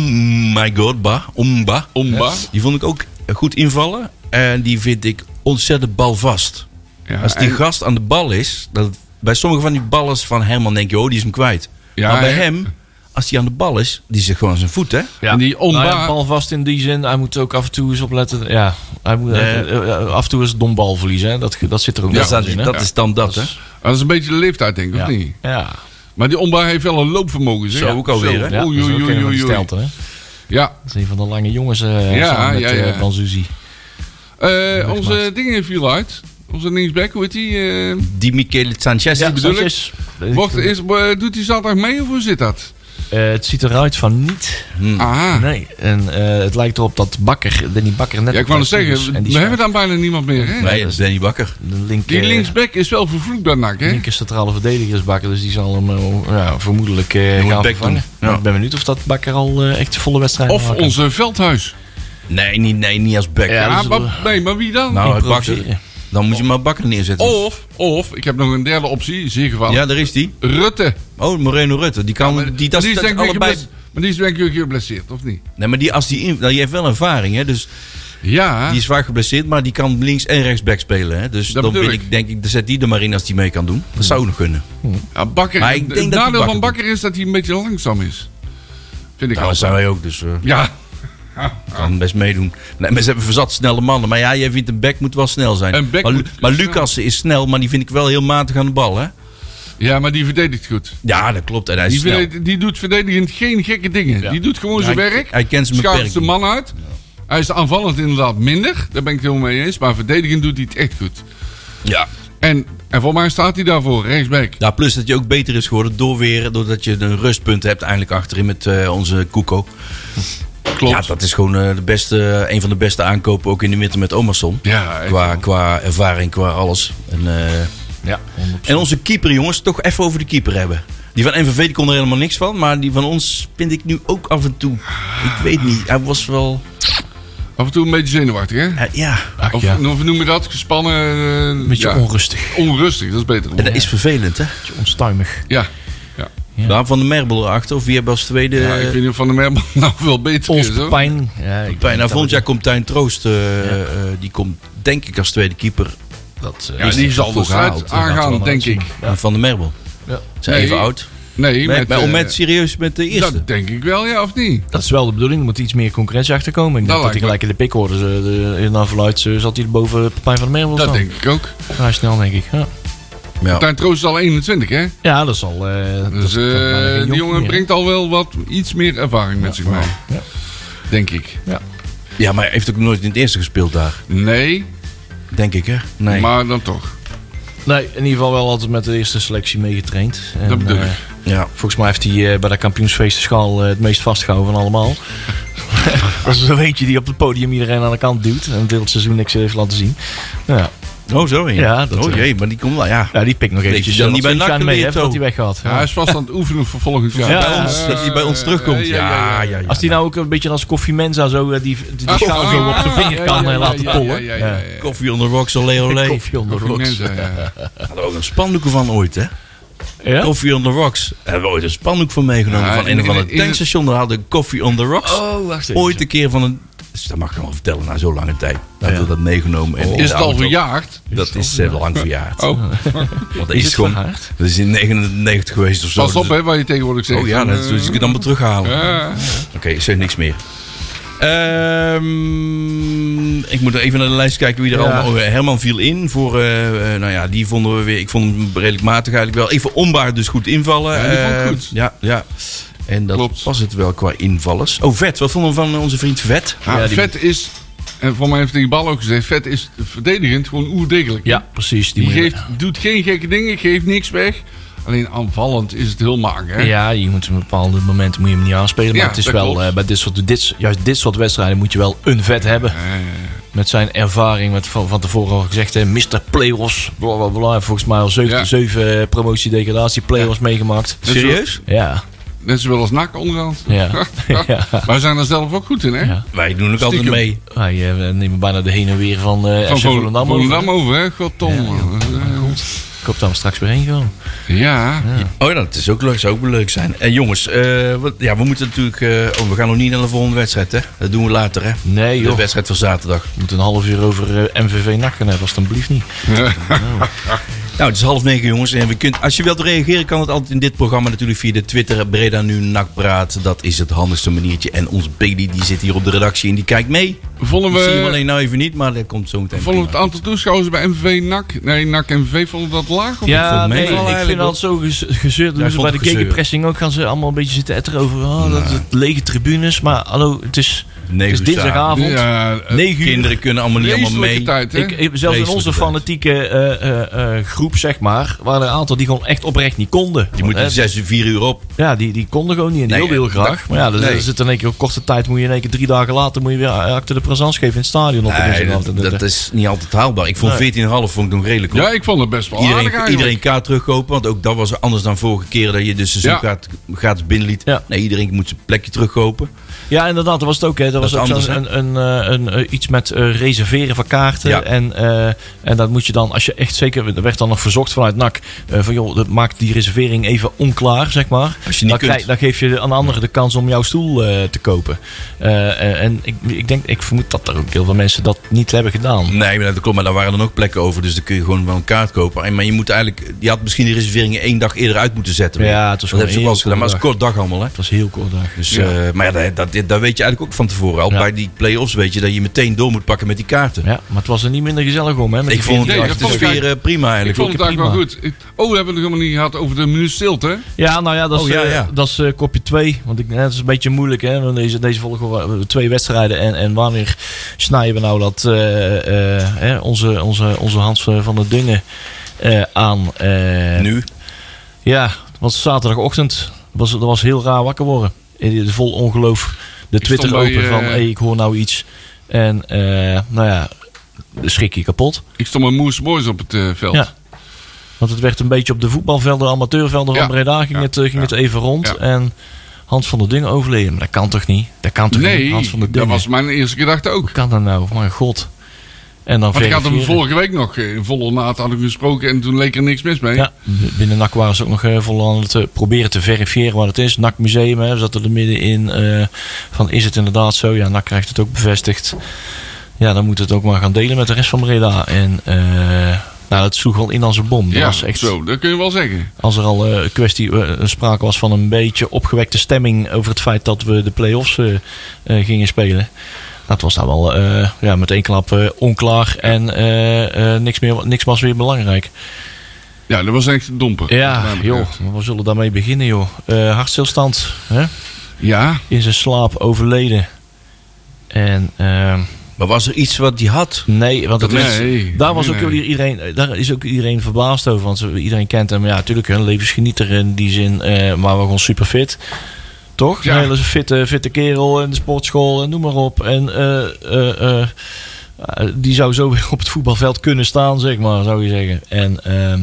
Speaker 2: my god, ba, omba.
Speaker 4: Omba.
Speaker 2: Die vond ik ook goed invallen. En die vind ik ontzettend balvast.
Speaker 4: Ja,
Speaker 2: Als die
Speaker 4: en-
Speaker 2: gast aan de bal is, dat, bij sommige van die ballers van Herman denk je, oh, die is hem kwijt.
Speaker 4: Ja,
Speaker 2: maar bij
Speaker 4: hè?
Speaker 2: hem, als hij aan de bal is, die zit gewoon aan zijn voet, hè?
Speaker 6: Ja.
Speaker 4: En die Omba-
Speaker 6: Nou ja, balvast in die zin. Hij moet ook af en toe eens opletten. Ja, hij moet
Speaker 2: Nee.
Speaker 6: eh, eh, af en toe eens dom bal verliezen. Hè. Dat, ge- dat zit er ook
Speaker 2: Dus dat
Speaker 6: nog
Speaker 2: is dan,
Speaker 6: wel in. hè.
Speaker 2: dat, is dan dat, hè?
Speaker 4: dat is een beetje de leeftijd, denk ik,
Speaker 6: ja.
Speaker 4: of niet?
Speaker 6: Ja.
Speaker 4: Maar die Omba heeft wel een loopvermogen, zeg.
Speaker 2: Zo, ook alweer, hè?
Speaker 6: Ja,
Speaker 4: Oei,
Speaker 6: dat is
Speaker 4: oei,
Speaker 6: ook een
Speaker 4: oei,
Speaker 6: van die
Speaker 4: oei, oei.
Speaker 6: stelten, hè.
Speaker 4: Ja.
Speaker 6: Dat is een van de lange jongens eh
Speaker 4: Ja,
Speaker 6: samen met
Speaker 4: ja,
Speaker 6: ja,
Speaker 4: ja.
Speaker 6: Banzuzi.
Speaker 4: Eh, onze dingen viel uit. Onze linksback, hoe heet die? eh,
Speaker 2: Die Michele Sanchez.
Speaker 4: Ja, bedoel ik.
Speaker 6: Sanchez.
Speaker 4: wordt,
Speaker 6: Ik-
Speaker 4: is, eh, doet hij zaterdag mee of hoe zit dat?
Speaker 6: eh, het ziet eruit van niet.
Speaker 4: Aha.
Speaker 6: Nee. En eh, het lijkt erop dat Bakker, Danny Bakker net...
Speaker 4: Ja, ik wou
Speaker 6: op
Speaker 4: het
Speaker 6: tijd is. dus-
Speaker 4: zeggen,
Speaker 6: En die
Speaker 4: we hebben
Speaker 6: schuift
Speaker 4: dan bijna niemand meer, hè?
Speaker 2: Nee, dat is Danny Bakker.
Speaker 6: de link,
Speaker 4: Die
Speaker 6: eh,
Speaker 4: linksback is wel vervloekt bij NAC, hè?
Speaker 6: linker centrale verdediger is Bakker. Dus die zal hem eh, ja, vermoedelijk eh,
Speaker 2: moet
Speaker 6: gaan
Speaker 2: back
Speaker 6: vervangen.
Speaker 2: doen. Ja.
Speaker 6: Ik ben benieuwd of dat Bakker al eh, echt de volle wedstrijd
Speaker 4: Of
Speaker 6: maakt.
Speaker 4: onze Veldhuis.
Speaker 2: Nee, niet, nee, niet als Bakker.
Speaker 6: Ja,
Speaker 4: Ja,
Speaker 6: dat is-
Speaker 4: maar, nee, maar wie dan?
Speaker 2: nou,
Speaker 6: improviseren.
Speaker 2: Bakker, dan moet je maar Bakker neerzetten.
Speaker 4: Of, of, ik heb nog een derde optie, zeer geval.
Speaker 2: Ja, daar is die.
Speaker 4: Rutte.
Speaker 2: Oh, Moreno Rutte. Die kan, die, dat,
Speaker 4: die
Speaker 2: dat
Speaker 4: denk ik
Speaker 2: allebei...
Speaker 4: gebles- Maar die is denk ik geblesseerd, of niet?
Speaker 2: Nee, maar die, als die, in, nou, die heeft wel ervaring, hè?
Speaker 4: Ah.
Speaker 2: Dus
Speaker 4: Ja,
Speaker 2: Die is zwaar geblesseerd, maar die kan links en rechts back spelen. Hè? Dus
Speaker 4: Dat
Speaker 2: dan
Speaker 4: bedoel
Speaker 2: wil
Speaker 4: ik.
Speaker 2: ik, denk ik, dan zet die er maar in als die mee kan doen. Dat zou ook nog kunnen.
Speaker 4: ja, Bakker.
Speaker 2: Maar ik denk
Speaker 4: het
Speaker 2: dat die
Speaker 4: nadeel
Speaker 2: Bakker
Speaker 4: van Bakker is dat hij een beetje langzaam is. Vind ik Ah.
Speaker 2: Nou,
Speaker 4: al.
Speaker 2: dat zijn wij ook, dus eh
Speaker 4: Ja,
Speaker 2: kan best meedoen. Nee, maar ze hebben verzat snelle mannen. Maar ja, jij vindt een back moet wel snel zijn.
Speaker 4: Een back
Speaker 2: maar Lu-
Speaker 4: moet
Speaker 2: maar
Speaker 4: snel.
Speaker 2: Lucas is snel, maar die vind ik wel heel matig aan de bal. Hè?
Speaker 4: ja, maar die verdedigt goed.
Speaker 2: Ja, dat klopt. En hij is
Speaker 4: Die,
Speaker 2: snel.
Speaker 4: verdedig- die doet verdedigend geen gekke dingen. Die doet gewoon
Speaker 2: Ja,
Speaker 4: zijn
Speaker 2: hij-
Speaker 4: werk.
Speaker 2: hij kent zijn
Speaker 4: Schuift zijn
Speaker 2: beperking.
Speaker 4: man uit. Hij is aanvallend inderdaad minder. Daar ben ik het helemaal mee eens. Maar verdedigend doet hij het echt goed.
Speaker 2: Ja.
Speaker 4: En, en voor mij staat hij daarvoor, rechtsback.
Speaker 2: ja, plus dat je ook beter is geworden door weer, doordat je een rustpunt hebt eindelijk achterin met eh, onze Kuko.
Speaker 4: Klopt.
Speaker 2: Ja, dat is gewoon eh, de beste, een van de beste aankopen ook in de winter met Omerson.
Speaker 4: Ja, echt
Speaker 2: qua,
Speaker 4: wel.
Speaker 2: qua ervaring, qua alles. En, eh,
Speaker 6: Ja, 100%.
Speaker 2: En onze keeper, jongens, toch even over de keeper hebben. Die van NVV die kon er helemaal niks van, maar die van ons vind ik nu ook af en toe. Ik weet niet, hij was wel.
Speaker 4: Af en toe een beetje zenuwachtig, hè?
Speaker 2: eh, ja,
Speaker 6: Ach,
Speaker 4: Of,
Speaker 6: ja.
Speaker 4: hoe noem je dat? Gespannen. eh,
Speaker 6: Beetje
Speaker 4: ja,
Speaker 6: onrustig,
Speaker 4: onrustig, dat is beter.
Speaker 2: en dat is vervelend, hè?
Speaker 6: beetje onstuimig.
Speaker 4: Ja. Ja.
Speaker 6: Ja.
Speaker 2: Daar van de Merbel erachter, of wie hebben als tweede.
Speaker 4: ja, ik
Speaker 2: eh,
Speaker 4: weet niet of Van der Merwel nou veel beter is. hoor.
Speaker 6: Pijn. Ja, ik
Speaker 2: bijna
Speaker 6: denk
Speaker 2: volgend
Speaker 6: dat
Speaker 2: jaar komt Tijn Troost. eh, eh, die komt, denk ik, als tweede keeper
Speaker 6: Dat, eh,
Speaker 4: Ja, die zal de strijd
Speaker 2: gehaald.
Speaker 6: Laten we
Speaker 4: aangaan,
Speaker 6: maar
Speaker 4: denk ik.
Speaker 6: uitzien.
Speaker 2: van de Merbel.
Speaker 6: Ja.
Speaker 2: Zijn
Speaker 4: Nee,
Speaker 2: even oud.
Speaker 4: Nee,
Speaker 2: Met, met, om
Speaker 4: eh,
Speaker 2: met serieus met de eerste.
Speaker 4: Dat denk ik wel, ja, of niet?
Speaker 6: dat is wel de bedoeling. Er moet iets meer concurrentie achterkomen. Ik
Speaker 4: Dat
Speaker 6: denk dat hij
Speaker 4: lijkt
Speaker 6: gelijk in de pik hoorde. Ze- de- Naar verluid eh, zat hij er boven Pepijn van der Merwel
Speaker 4: Dat
Speaker 6: staan.
Speaker 4: denk ik ook.
Speaker 6: Vrij snel, denk ik. Ja,
Speaker 2: ja.
Speaker 4: Tijn Troost is al 21, hè?
Speaker 6: ja dat zal... eh dat-
Speaker 4: Dus
Speaker 6: dat- dat- dat-
Speaker 4: eh,
Speaker 6: geen
Speaker 4: die
Speaker 6: jonkie
Speaker 4: jongen
Speaker 6: meer.
Speaker 4: brengt al wel wat, iets meer ervaring met zich mee. Denk ik.
Speaker 2: ja, maar hij heeft ook nooit in het eerste gespeeld daar.
Speaker 4: Nee,
Speaker 2: Denk ik, hè? Nee.
Speaker 4: maar dan toch.
Speaker 6: Nee, in ieder geval wel altijd met de eerste selectie meegetraind. En,
Speaker 4: Dat bedoel
Speaker 6: eh,
Speaker 4: ik.
Speaker 2: ja.
Speaker 6: Volgens mij heeft hij eh, bij dat kampioensfeest de schaal eh, het meest vastgehouden van allemaal. dat is een eentje die op het podium iedereen aan de kant duwt. En het hele seizoen niks heeft laten zien. Nou ja,
Speaker 2: Oh, zo. Ja,
Speaker 6: Ja, dat,
Speaker 2: oh
Speaker 6: eh,
Speaker 2: jee, maar die komt wel. Ja.
Speaker 6: ja, die pikt nog
Speaker 2: je
Speaker 6: eventjes.
Speaker 2: dan
Speaker 6: eh,
Speaker 2: niet
Speaker 6: wat
Speaker 2: bij
Speaker 6: sunshine
Speaker 2: NAC
Speaker 6: mee
Speaker 2: geleerd
Speaker 6: heeft dat
Speaker 2: ook?
Speaker 6: hij weggaat.
Speaker 4: Ja, hij is vast aan het oefenen voor volgend jaar.
Speaker 6: Ja,
Speaker 2: bij ons,
Speaker 4: Eh,
Speaker 2: dat hij bij ons terugkomt.
Speaker 4: ja, ja, ja.
Speaker 6: Als die nou ook een beetje als Koffie Mensa zo eh, die, die,
Speaker 4: Oh,
Speaker 6: die schaal
Speaker 4: ah,
Speaker 6: zo op zijn vinger kan eh, laten pollen.
Speaker 4: Ja, ja, ja, ja.
Speaker 2: Koffie onder rocks, olé olé.
Speaker 6: Koffie on the
Speaker 4: Die
Speaker 6: rocks.
Speaker 4: mensen, ja.
Speaker 2: Hadden we ook een spandoek van ooit, hè?
Speaker 6: Ja?
Speaker 2: Koffie on the rocks. Daar hebben we ooit een spandoek van meegenomen.
Speaker 4: Ja,
Speaker 2: van
Speaker 4: in-
Speaker 2: een van
Speaker 4: in-
Speaker 2: het
Speaker 4: in-
Speaker 2: tankstation. Daar hadden we Coffee on the rocks.
Speaker 6: Oh, wacht even.
Speaker 2: ooit een keer van een Dus dat mag ik wel vertellen na zo'n lange tijd. Hij had dat meegenomen. En in de
Speaker 4: Is het al
Speaker 2: auto.
Speaker 4: verjaard?
Speaker 2: Dat is eh, lang verjaard.
Speaker 4: Oh,
Speaker 2: Want dat is,
Speaker 6: het
Speaker 2: gewoon.
Speaker 6: verjaard?
Speaker 2: Dat is in 99 geweest of zo.
Speaker 4: pas op
Speaker 2: Dus-
Speaker 4: hè, wat je tegenwoordig zegt.
Speaker 2: Oh ja, dat dus ik het dan maar terughalen.
Speaker 4: Ja.
Speaker 2: Oké, ik zeg niks meer. Ehm, ik moet even naar de lijst kijken wie er allemaal... Oh, Herman viel in voor... eh, eh, nou ja, die vonden we weer... Ik vond hem redelijk matig eigenlijk wel. Even onbaar dus goed invallen.
Speaker 4: Ja, die vond ik
Speaker 2: Eh,
Speaker 4: goed.
Speaker 2: Ja, ja. En dat
Speaker 4: Klopt.
Speaker 2: was het wel qua invallers. Oh, Vet. Wat vonden we van onze vriend Vet?
Speaker 4: Ah,
Speaker 6: Ja, die-
Speaker 4: vet is, en voor mij heeft die bal ook gezegd, vet is verdedigend gewoon oerdegelijk.
Speaker 6: Ja, precies. Die
Speaker 4: Die
Speaker 6: moet je-
Speaker 4: geeft, doet geen gekke dingen, geeft niks weg. Alleen aanvallend is het heel mager. hè?
Speaker 6: Ja, je moet op bepaalde momenten moet je hem niet aanspelen. Maar
Speaker 4: Ja,
Speaker 6: het is
Speaker 4: dat
Speaker 6: wel
Speaker 4: klopt.
Speaker 6: eh, bij dit soort, dit, juist dit soort wedstrijden moet je wel een vet hebben. Met zijn ervaring, met van, van tevoren al gezegd, hè, Mr. Playoffs. Bla, bla, bla. Hij heeft Volgens mij al 7,
Speaker 4: Ja.
Speaker 6: 7 promotie-degradatie playoffs meegemaakt.
Speaker 2: Serieus?
Speaker 6: Ja,
Speaker 4: Net zo wel als nak onderhand.
Speaker 6: ja. ja.
Speaker 4: Maar we zijn er zelf ook goed in, hè?
Speaker 6: Ja.
Speaker 2: Wij doen ook altijd
Speaker 4: Stiekem.
Speaker 2: mee.
Speaker 6: Wij eh, we nemen bijna de heen en weer van, eh
Speaker 4: Van
Speaker 6: FC Volendam.
Speaker 4: Volendam,
Speaker 6: over.
Speaker 4: over, hè? God, Tom. Ja,
Speaker 6: Ik hoop dat we straks weer heen gaan.
Speaker 4: Eh, ja.
Speaker 2: Oh, ja, dat is ook leuk. zou ook leuk zijn. En jongens, eh, wat, ja, we moeten natuurlijk... eh, oh, we gaan nog niet naar de volgende wedstrijd, hè? Dat doen we later, hè?
Speaker 6: Nee
Speaker 2: De
Speaker 6: joh, we
Speaker 2: wedstrijd van zaterdag.
Speaker 6: moeten een half uur over eh, MVV NAC gaan hebben, alsjeblieft niet.
Speaker 2: Nou, het is half negen, jongens. En we kunt, als je wilt reageren, kan het altijd in dit programma natuurlijk via de Twitter. Breda nu nakpraat. Dat is het handigste maniertje. En ons Bailey, die zit hier op de redactie en die kijkt mee.
Speaker 4: Vonden
Speaker 2: Ik zie hem
Speaker 4: we,
Speaker 2: alleen nou even niet, maar dat komt zo meteen.
Speaker 4: vonden we
Speaker 2: prima.
Speaker 4: het aantal toeschouwers bij MVV NAC? Nee, NAC MVV vonden dat laag? Of
Speaker 6: Ja,
Speaker 2: vond
Speaker 6: nee,
Speaker 2: meevallen
Speaker 6: ik
Speaker 2: eigenlijk
Speaker 6: vind dat zo gez- gezeurd.
Speaker 2: Ja,
Speaker 6: doen
Speaker 2: ik
Speaker 6: ze
Speaker 2: vond
Speaker 6: bij de
Speaker 2: het gezeur.
Speaker 6: kekenpressing ook gaan ze allemaal een beetje zitten etteren over oh, dat het lege tribunes. Maar hallo, het is, het
Speaker 2: Negen
Speaker 6: is
Speaker 2: uur
Speaker 6: dinsdagavond.
Speaker 4: Ja, eh,
Speaker 6: 9 uur.
Speaker 2: Kinderen kunnen allemaal niet allemaal
Speaker 4: vreselijke
Speaker 2: mee.
Speaker 4: tijd, hè?
Speaker 6: Ik, ik- zelfs in onze
Speaker 2: Vreselijk
Speaker 6: fanatieke eh, eh, eh, groep, zeg maar, waren er een aantal die gewoon echt oprecht niet konden.
Speaker 2: Die
Speaker 6: Want,
Speaker 2: moeten
Speaker 6: hè,
Speaker 2: zes, vier uur op.
Speaker 6: Ja, die, die konden gewoon niet en die
Speaker 2: Nee,
Speaker 6: wilden heel
Speaker 2: eh,
Speaker 6: graag. Maar ja, dan
Speaker 2: nee.
Speaker 6: dan zit er in één keer op korte tijd, moet je in één keer drie dagen later moet je weer eh, acte de présence geven in het stadion. Op de
Speaker 2: Nee,
Speaker 6: dinsdagavond.
Speaker 2: dat, dat is niet altijd haalbaar. Ik vond 14,5 vond ik nog redelijk hoor.
Speaker 4: ja, ik vond het best wel aardig
Speaker 2: Iedereen,
Speaker 4: eigenlijk.
Speaker 2: iedereen kaart terugkopen, want ook dat was anders dan vorige keer dat je dus de seizoenkaart gratis binnenliet.
Speaker 6: Ja.
Speaker 2: Nee, iedereen moet zijn plekje terugkopen.
Speaker 6: Ja, inderdaad, dat was het ook. Hè. Dat,
Speaker 2: Dat
Speaker 6: was
Speaker 2: is
Speaker 6: ook
Speaker 2: anders,
Speaker 6: zo'n- een, een, eh, een, eh, iets met eh, reserveren van kaarten.
Speaker 2: Ja.
Speaker 6: En, eh, en dat moet je dan, als je echt zeker... Er werd dan nog verzocht vanuit NAC... eh, van joh, dat maakt die reservering even onklaar, zeg maar.
Speaker 2: Als je niet
Speaker 6: dan,
Speaker 2: kunt.
Speaker 6: krijg- dan geef je aan anderen de kans om jouw stoel eh, te kopen. Eh, eh, en ik, ik denk, ik vermoed dat er ook heel veel mensen dat niet hebben gedaan.
Speaker 2: Nee, maar dat klopt. Maar daar waren dan ook plekken over. Dus dan kun je gewoon wel een kaart kopen. En- Maar je moet eigenlijk... Je had misschien die reserveringen één dag eerder uit moeten zetten.
Speaker 6: Ja, het
Speaker 2: dat
Speaker 6: was
Speaker 2: hebben ze ook
Speaker 6: gewoon
Speaker 2: wel eens gedaan. Maar het is een
Speaker 6: heel
Speaker 2: kort dag allemaal, hè?
Speaker 6: Het was heel kort dag.
Speaker 2: Dus, eh, maar ja, dat, dat, dat weet je eigenlijk ook van tevoren al.
Speaker 6: Ja.
Speaker 2: Bij die play-offs weet je dat je meteen door moet pakken met die kaarten.
Speaker 6: Ja, maar het was er niet minder gezellig om, hè? met
Speaker 2: Ik
Speaker 6: die
Speaker 2: vond
Speaker 4: Nee,
Speaker 6: 14
Speaker 2: het
Speaker 4: dat
Speaker 2: de
Speaker 4: vond ik
Speaker 2: sfeer eh, prima
Speaker 4: Ik
Speaker 2: eigenlijk.
Speaker 4: vond het eigenlijk wel goed. Ik- Oh, we hebben het nog helemaal niet gehad over de minuut stilte. hè?
Speaker 6: Ja, nou ja, dat is,
Speaker 2: Oh, ja,
Speaker 6: eh,
Speaker 2: ja.
Speaker 6: dat is eh, kopje 2. Want ik, eh, dat is een beetje moeilijk, hè? Want deze, deze volgen we twee wedstrijden. En, en wanneer snijden we nou dat eh, eh, hè, onze, onze, onze Hans van der Dungen eh, aan? eh,
Speaker 2: Nu?
Speaker 6: Ja, want zaterdagochtend was dat was heel raar wakker worden. In- Vol ongeloof. De Twitter
Speaker 4: stond
Speaker 6: open
Speaker 4: bij, eh,
Speaker 6: van, hey, ik hoor nou iets. En eh, nou ja, schrik je kapot.
Speaker 4: Ik stond met Moes Boys op het eh, veld.
Speaker 6: Ja. Want het werd een beetje op de voetbalvelden, amateurvelden van
Speaker 4: Ja.
Speaker 6: Breda ging,
Speaker 4: Ja.
Speaker 6: het, eh, ging
Speaker 4: Ja.
Speaker 6: het even rond.
Speaker 4: Ja.
Speaker 6: En Hans van der Ding overleden. Maar dat kan toch niet? Dat kan toch niet? Hans
Speaker 4: Nee,
Speaker 6: van der
Speaker 4: dat
Speaker 6: Ding.
Speaker 4: was mijn eerste gedachte ook.
Speaker 6: Hoe kan dat nou? Mijn god. En dan
Speaker 4: Want ik had hem
Speaker 6: verifiëren.
Speaker 4: vorige week nog eh, in volle naad hadden we gesproken en toen leek er niks mis mee.
Speaker 6: Ja, binnen NAC waren ze ook nog eh, vol aan het eh, proberen te verifiëren wat het is. NAC Museum, hè, we zaten er middenin. eh, van is het inderdaad zo? Ja, NAC krijgt het ook bevestigd. Ja, dan moet het ook maar gaan delen met de rest van Breda. En eh, nou, dat sloeg wel in als een bom. Dat
Speaker 4: Ja,
Speaker 6: was echt
Speaker 4: zo, dat kun je wel zeggen.
Speaker 6: Als er al eh, een kwestie, eh, een sprake was van een beetje opgewekte stemming over het feit dat we de play-offs eh, eh, gingen spelen. Dat was nou wel eh, ja, met één klap eh, onklaar en eh, eh, niks, meer, niks was weer belangrijk.
Speaker 4: Ja, dat was echt een domper.
Speaker 6: Ja,
Speaker 4: Wat mij
Speaker 6: joh,
Speaker 4: betreft.
Speaker 6: we zullen daarmee beginnen, joh. Eh, hartstilstand, hè?
Speaker 4: Ja,
Speaker 6: in zijn slaap overleden. En ehm,
Speaker 2: Maar was er iets wat hij had?
Speaker 6: nee, want het is,
Speaker 4: nee,
Speaker 6: daar, was
Speaker 4: nee,
Speaker 6: ook
Speaker 4: nee.
Speaker 6: weer iedereen, daar is ook iedereen verbaasd over. Want ze- iedereen kent hem, ja, natuurlijk een levensgenieter in die zin, eh, maar wel gewoon super fit. Toch?
Speaker 4: Ja.
Speaker 6: Een hele fitte, fitte kerel in de sportschool en noem maar op. En eh, eh, eh, eh, die zou zo weer op het voetbalveld kunnen staan, zeg maar, zou je zeggen. En ehm,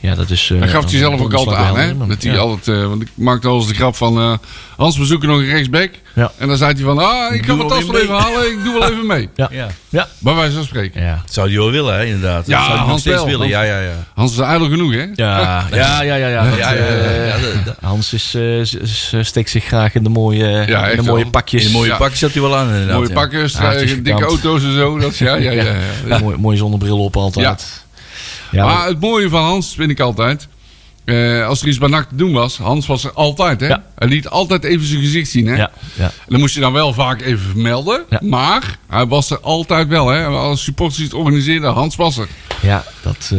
Speaker 6: Ja, dat is... eh,
Speaker 4: Hij gaf hij
Speaker 6: een
Speaker 4: zelf ook
Speaker 6: donderslag
Speaker 4: altijd
Speaker 6: bij
Speaker 4: aan, hè?
Speaker 6: Helmond.
Speaker 4: Dat hij
Speaker 6: Ja.
Speaker 4: altijd, eh, want ik maakte al eens de grap van... eh, Hans, we zoeken nog een rechtsback.
Speaker 6: Ja.
Speaker 4: En dan zei hij van... Ah, ik ga
Speaker 2: Doe
Speaker 4: mijn
Speaker 2: wel
Speaker 4: tas
Speaker 2: weer
Speaker 4: wel even
Speaker 2: mee.
Speaker 4: halen. Ik doe wel even mee.
Speaker 6: Ja.
Speaker 2: Ja.
Speaker 6: Ja.
Speaker 4: Bij wijze van spreken.
Speaker 6: Ja.
Speaker 2: Zou die wel willen, hè, inderdaad.
Speaker 4: Ja,
Speaker 2: dat zou die nog
Speaker 4: Hans
Speaker 2: steeds
Speaker 4: wel.
Speaker 2: willen.
Speaker 4: Hans-
Speaker 2: Ja, ja, ja.
Speaker 4: Hans is ijdel genoeg, hè?
Speaker 6: Ja, ja, ja, ja. ja, dat,
Speaker 2: Ja, ja, ja,
Speaker 6: eh,
Speaker 2: ja, dat- dat-
Speaker 6: Hans is, eh, z- z- steekt zich graag in de mooie,
Speaker 4: Ja,
Speaker 6: in de
Speaker 4: echt
Speaker 6: mooie
Speaker 4: wel.
Speaker 6: pakjes.
Speaker 2: In een mooie
Speaker 4: Ja.
Speaker 2: pak zat hij wel aan, inderdaad.
Speaker 4: Mooie
Speaker 2: ja.
Speaker 4: pakken, stra-
Speaker 6: Haartjes
Speaker 4: dikke
Speaker 6: gekant.
Speaker 4: auto's en zo. Dat, ja, ja, ja. ja,
Speaker 6: Ja, Mooi, mooie zonnebril op altijd. Ja.
Speaker 4: Maar het mooie van Hans vind ik altijd... eh, als er iets bij NAC te doen was, Hans was er altijd, hè?
Speaker 6: Ja.
Speaker 4: Hij liet altijd even zijn gezicht zien, hè?
Speaker 6: ja, ja.
Speaker 4: En Dan moest je dan wel vaak even vermelden.
Speaker 6: Ja.
Speaker 4: Maar hij was er altijd wel. Hè? Als supporters iets organiseerden, Hans was er.
Speaker 6: Ja, dat, eh,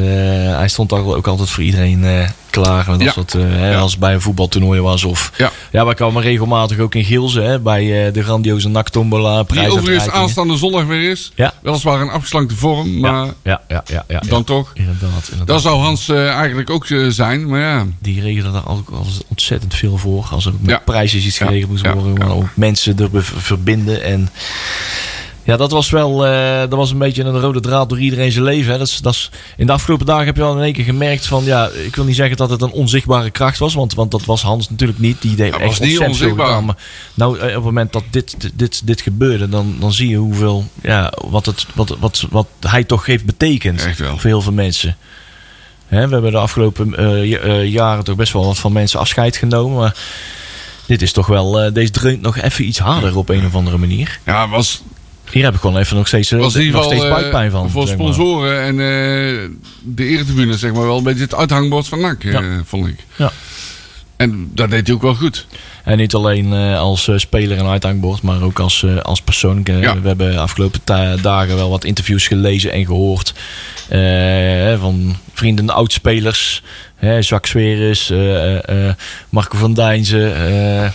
Speaker 6: hij stond ook, ook altijd voor iedereen eh, klaar. Met dat
Speaker 4: Ja.
Speaker 6: soort, eh, hè,
Speaker 4: Ja.
Speaker 6: Als het bij een voetbaltoernooi was. Of,
Speaker 4: Ja.
Speaker 6: wij kwamen regelmatig ook in Gielsen. Hè, bij eh, de grandioze naktombola.
Speaker 4: Die overigens
Speaker 6: prijsuitreikingen.
Speaker 4: aanstaande zondag weer is.
Speaker 6: Ja.
Speaker 4: Weliswaar een afgeslankte vorm, maar
Speaker 6: Ja, ja, ja, ja, ja,
Speaker 4: dan
Speaker 6: ja.
Speaker 4: toch.
Speaker 6: Inderdaad, inderdaad.
Speaker 4: Dat zou Hans eh, eigenlijk ook eh, zijn. Maar ja,
Speaker 6: die regelen daar ook altijd ontzettend veel voor. Als er met
Speaker 4: Ja.
Speaker 6: prijsjes iets
Speaker 4: Ja,
Speaker 6: geregeld moest
Speaker 4: ja,
Speaker 6: worden.
Speaker 4: ja.
Speaker 6: maar ook mensen er be- verbinden. En ja, dat was wel eh, dat was een beetje een rode draad door iedereen zijn leven. Hè. Dat is, dat is, in de afgelopen dagen heb je wel in één keer gemerkt van... Ja, ik wil niet zeggen dat het een onzichtbare kracht was. Want, want dat was Hans natuurlijk niet. Die deed
Speaker 4: Dat
Speaker 6: echt
Speaker 4: was niet
Speaker 6: ontzettend veel
Speaker 4: onzichtbaar.
Speaker 6: gedaan, maar nou, eh, op het moment dat dit, dit- dit, dit gebeurde... Dan, dan zie je hoeveel... Ja, wat, het, wat, wat, wat hij toch heeft betekend
Speaker 4: Echt wel.
Speaker 6: voor heel veel mensen. Hè, we hebben de afgelopen eh, j- eh, jaren toch best wel wat van mensen afscheid genomen. Maar dit is toch wel, eh, deze dreunt nog even iets harder op een of andere manier.
Speaker 4: ja was,
Speaker 6: Hier heb ik gewoon even nog steeds, eh,
Speaker 4: was in ieder
Speaker 6: nog
Speaker 4: geval
Speaker 6: steeds
Speaker 4: eh,
Speaker 6: buikpijn van.
Speaker 4: voor
Speaker 6: zeg maar.
Speaker 4: sponsoren en eh, de eretribune zeg maar wel een beetje het uithangbord van NAC, eh,
Speaker 6: Ja.
Speaker 4: vond ik.
Speaker 6: Ja.
Speaker 4: En dat deed hij ook wel goed.
Speaker 6: En niet alleen eh, als eh, speler en uithangbord, maar ook als, eh, als persoon. Eh,
Speaker 4: Ja.
Speaker 6: We hebben de afgelopen ta- dagen wel wat interviews gelezen en gehoord. eh, hè, van vrienden, oudspelers. hè, Jacques Sweris, eh, eh, Marco van Dijnzen. eh,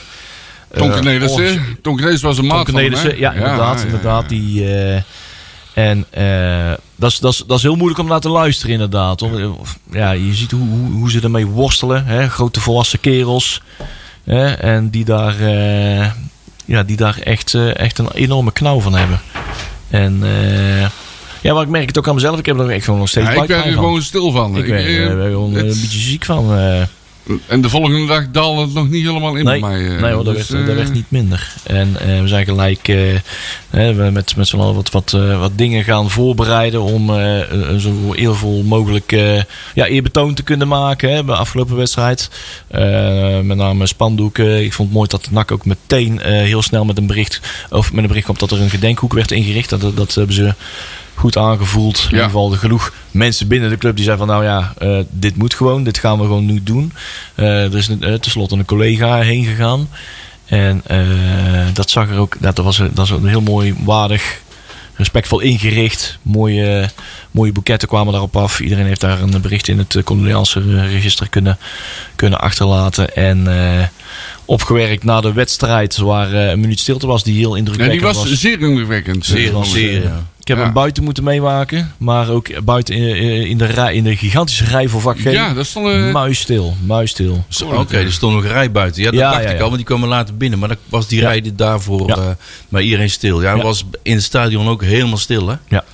Speaker 4: Tonke
Speaker 6: eh,
Speaker 4: Nedersen. Tonke Nedersen was een maat
Speaker 6: Tom
Speaker 4: van hem,
Speaker 6: Cornelissen,
Speaker 4: hè?
Speaker 6: ja, inderdaad.
Speaker 4: ja, ja.
Speaker 6: inderdaad Die, eh, en eh, dat is- dat is- dat is heel moeilijk om naar te luisteren, inderdaad. Om, eh, of- ja, je ziet hoe, hoe, hoe ze ermee worstelen. Hè? Grote volwassen kerels. Hè? En die daar, eh, ja, die daar echt, eh, echt een enorme knauw van hebben. En eh, ja, maar ik merk het ook aan mezelf. Ik heb er echt gewoon nog steeds
Speaker 4: Ja, ik werd
Speaker 6: buikpijn
Speaker 4: er
Speaker 6: van.
Speaker 4: gewoon stil van.
Speaker 6: Ik ben
Speaker 4: eh,
Speaker 6: er gewoon een
Speaker 4: het-
Speaker 6: beetje ziek van. eh.
Speaker 4: En de volgende dag daalde het nog niet helemaal in
Speaker 6: nee,
Speaker 4: bij mij. eh,
Speaker 6: nee hoor, dat,
Speaker 4: dus,
Speaker 6: werd,
Speaker 4: eh,
Speaker 6: dat werd niet minder. En eh, we zijn gelijk eh, hè, we met, met z'n allen wat, wat, eh, wat dingen gaan voorbereiden om eh, een zo eervol mogelijk eh, ja, eerbetoon te kunnen maken hè, bij de afgelopen wedstrijd. Eh, met name spandoeken. Ik vond het mooi dat NAC ook meteen eh, heel snel met een bericht of met een bericht kwam dat er een gedenkhoek werd ingericht. Dat, dat hebben ze goed aangevoeld. In ieder geval de genoeg mensen binnen de club die zeiden van nou ja, eh, dit moet gewoon, dit gaan we gewoon nu doen. Eh, er is een, eh, tenslotte een collega heen gegaan. En eh, dat zag er ook, dat was, dat was een heel mooi, waardig, respectvol ingericht. Mooie, mooie boeketten kwamen daarop af. Iedereen heeft daar een bericht in het eh, condoleanceregister kunnen, kunnen achterlaten. En eh, opgewerkt na de wedstrijd, waar eh, een minuut stilte was, die heel
Speaker 4: ja,
Speaker 6: indrukwekkend
Speaker 4: die was,
Speaker 6: was.
Speaker 4: zeer indrukwekkend.
Speaker 2: Zeer,
Speaker 4: eh,
Speaker 2: zeer,
Speaker 4: jongens.
Speaker 2: ja.
Speaker 6: Ik heb
Speaker 4: Ja.
Speaker 6: hem buiten moeten meemaken, maar ook buiten in, in, de, rij, in de gigantische rij voor vak G.
Speaker 4: Ja, dat stond... eh,
Speaker 6: Muisstil, muisstil.
Speaker 2: Zo, Oké, er stond nog een rij buiten. Ja, dat
Speaker 6: Ja,
Speaker 2: dacht
Speaker 6: ja,
Speaker 2: ik
Speaker 6: ja.
Speaker 2: al, want die kwamen later binnen. Maar dat was die
Speaker 6: Ja.
Speaker 2: rij die daarvoor
Speaker 6: Ja.
Speaker 2: eh, maar iedereen stil. Ja, dat
Speaker 6: Ja.
Speaker 2: was in het stadion ook helemaal stil, hè?
Speaker 6: Ja.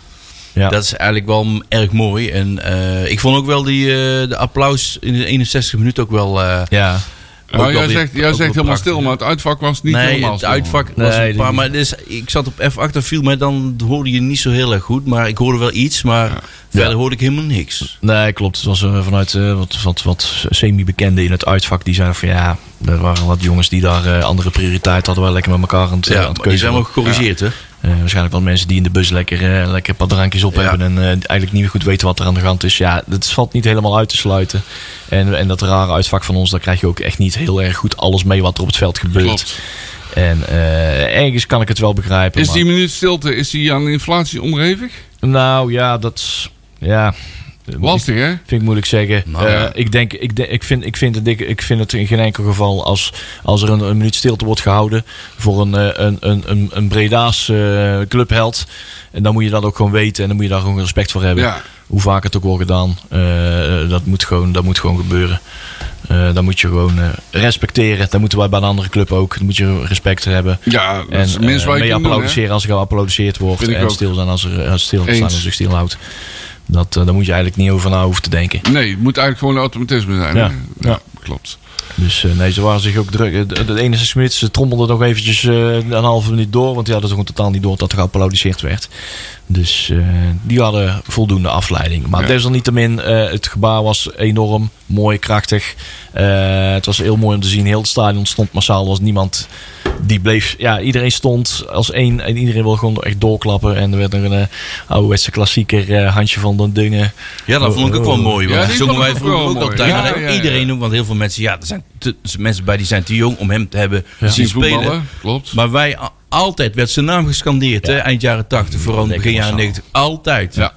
Speaker 6: Ja.
Speaker 2: Dat is eigenlijk wel m- erg mooi. En eh, ik vond ook wel die, eh, de applaus in de 61 minuut ook wel... eh,
Speaker 6: ja.
Speaker 4: nou,
Speaker 2: ook wel
Speaker 4: jij
Speaker 2: weer-
Speaker 4: zegt, jij
Speaker 2: ook
Speaker 4: zegt
Speaker 2: wel
Speaker 4: helemaal
Speaker 2: prachtig,
Speaker 4: stil,
Speaker 2: hè?
Speaker 4: maar het uitvak was niet
Speaker 2: nee,
Speaker 4: helemaal
Speaker 2: het
Speaker 4: stil.
Speaker 2: uitvak was
Speaker 6: Nee,
Speaker 2: een paar.
Speaker 6: die-
Speaker 2: Maar dus, ik zat op F8, viel mij dan hoorde je niet zo heel erg goed. Maar ik hoorde wel iets, maar verder
Speaker 6: Ja.
Speaker 2: hoorde ik helemaal niks.
Speaker 6: Nee, klopt. Het was eh, vanuit eh, wat, wat, wat semi-bekenden in het uitvak. Die zeiden van ja, er waren wat jongens die daar eh, andere prioriteit hadden. Wel lekker met elkaar aan het, eh,
Speaker 2: Ja,
Speaker 6: aan het
Speaker 2: maar die zijn wel
Speaker 6: keuzen.
Speaker 2: gecorrigeerd, hè?
Speaker 6: Eh, waarschijnlijk wel mensen die in de bus lekker, eh, lekker een paar drankjes op
Speaker 2: Ja.
Speaker 6: hebben. En eh, eigenlijk niet meer goed weten wat er aan de hand is. Ja, dat valt niet helemaal uit te sluiten. En, en dat rare uitvak van ons, daar krijg je ook echt niet heel erg goed alles mee wat er op het veld gebeurt.
Speaker 4: Klopt.
Speaker 6: En eh, ergens kan ik het wel begrijpen.
Speaker 4: Is
Speaker 6: maar-
Speaker 4: die minuut stilte, is die aan inflatie onderhevig?
Speaker 6: Nou ja, dat is- ja,
Speaker 4: Lastig, hè?
Speaker 6: vind ik moeilijk zeggen.
Speaker 2: Nou,
Speaker 6: Eh,
Speaker 4: ja.
Speaker 6: ik, denk, ik, denk- ik, vind, ik, vind het, dik- ik vind het in geen enkel geval als, als er een, een minuut stilte wordt gehouden voor een, eh, een, een, een, een Breda's eh, clubheld. En dan moet je dat ook gewoon weten en dan moet je daar gewoon respect voor hebben.
Speaker 4: Ja.
Speaker 6: Hoe vaak het ook wordt gedaan, eh, dat, moet gewoon, dat moet gewoon gebeuren. Eh dat moet je gewoon eh, respecteren. Dat moeten wij bij een andere club ook. Dan moet je respect hebben.
Speaker 4: Ja, dat
Speaker 6: En
Speaker 4: is het minst
Speaker 6: eh,
Speaker 4: waar je
Speaker 6: mee
Speaker 4: kunt doen, hè?
Speaker 6: applaudisseren als er geapplaudisseerd wordt.
Speaker 4: Vind ik
Speaker 6: En
Speaker 4: ook.
Speaker 6: stil zijn als er eh, stil, staan
Speaker 4: Eens.
Speaker 6: als er stil houdt. Dat, eh, daar moet je eigenlijk niet over na hoeven te denken.
Speaker 4: Nee, het moet eigenlijk gewoon automatisme zijn.
Speaker 6: Ja,
Speaker 4: hè?
Speaker 6: ja.
Speaker 4: klopt.
Speaker 6: Dus eh, nee, ze waren zich ook druk. Eh, De, de ene Smit, ze trommelde nog eventjes eh, een halve minuut door. Want die hadden gewoon totaal niet door dat er geapplaudisseerd werd. Dus eh, die hadden voldoende afleiding. Maar
Speaker 4: Ja.
Speaker 6: desalniettemin, eh, het gebaar was enorm mooi, krachtig. Eh, het was heel mooi om te zien. Heel het stadion stond massaal. Er was niemand die bleef... Ja, iedereen stond als één. En iedereen wil gewoon echt doorklappen. En er werd nog een eh, ouderwetse klassieker, eh, Hansje van den Dungen.
Speaker 2: Ja, dat vond ik ook wel mooi.
Speaker 4: Oh, Ja,
Speaker 2: Want
Speaker 4: die
Speaker 2: dat zongen
Speaker 4: vond ik
Speaker 2: wij
Speaker 4: ook
Speaker 2: vroeger
Speaker 4: wel
Speaker 2: ook
Speaker 4: mooi.
Speaker 2: altijd.
Speaker 4: Ja,
Speaker 2: Maar dat
Speaker 4: ja,
Speaker 2: heeft
Speaker 4: ja,
Speaker 2: iedereen ook, want heel veel mensen, ja, er zijn te- mensen bij die zijn te jong om hem te hebben zien
Speaker 4: Die
Speaker 2: spelen.
Speaker 4: voetballen, klopt.
Speaker 2: Maar wij, a- altijd werd zijn naam gescandeerd, hè, eind jaren 80, vooral
Speaker 6: denk ik
Speaker 2: begin jaren
Speaker 6: massaal.
Speaker 2: 90. Altijd.
Speaker 4: Ja.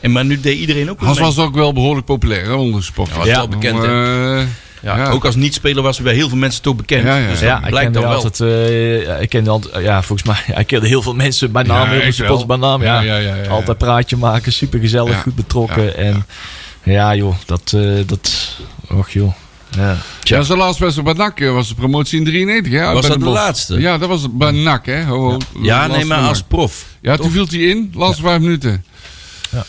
Speaker 2: En maar nu deed iedereen ook wel
Speaker 4: Hans
Speaker 2: mee.
Speaker 4: was ook wel behoorlijk populair hè, onder de sport. Eh,
Speaker 2: was wel bekend, hè. ja,
Speaker 4: ja.
Speaker 2: Ook als niet-speler was hij bij heel veel mensen toch bekend.
Speaker 4: Ja, ja.
Speaker 2: Dus dat
Speaker 6: Ja, ik
Speaker 2: blijkt
Speaker 6: kende
Speaker 2: dan wel.
Speaker 6: altijd, eh, ik kende altijd, ja, volgens mij, hij kende heel veel mensen bij naam,
Speaker 4: Ja,
Speaker 6: heel veel
Speaker 4: ik
Speaker 6: supporters bij
Speaker 4: wel.
Speaker 6: naam.
Speaker 4: Ja,
Speaker 6: Ja.
Speaker 4: ja, ja, ja, ja.
Speaker 6: Altijd praatje maken, super gezellig,
Speaker 4: Ja,
Speaker 6: goed betrokken.
Speaker 4: ja,
Speaker 6: en ja. joh, dat, eh, dat, och joh. Ja.
Speaker 4: Ja, zijn laatste wedstrijd bij NAC eh, was de promotie in 93. Hè, uit
Speaker 2: Was
Speaker 4: bij
Speaker 2: dat de
Speaker 4: Bos.
Speaker 2: laatste?
Speaker 4: Ja, dat was bij NAC. Hè. Ho, ho,
Speaker 2: Ja,
Speaker 4: laatste
Speaker 2: nee, maar
Speaker 4: nummer.
Speaker 2: als prof.
Speaker 4: Ja, toen viel hij in, laatste vijf minuten.
Speaker 6: Ja.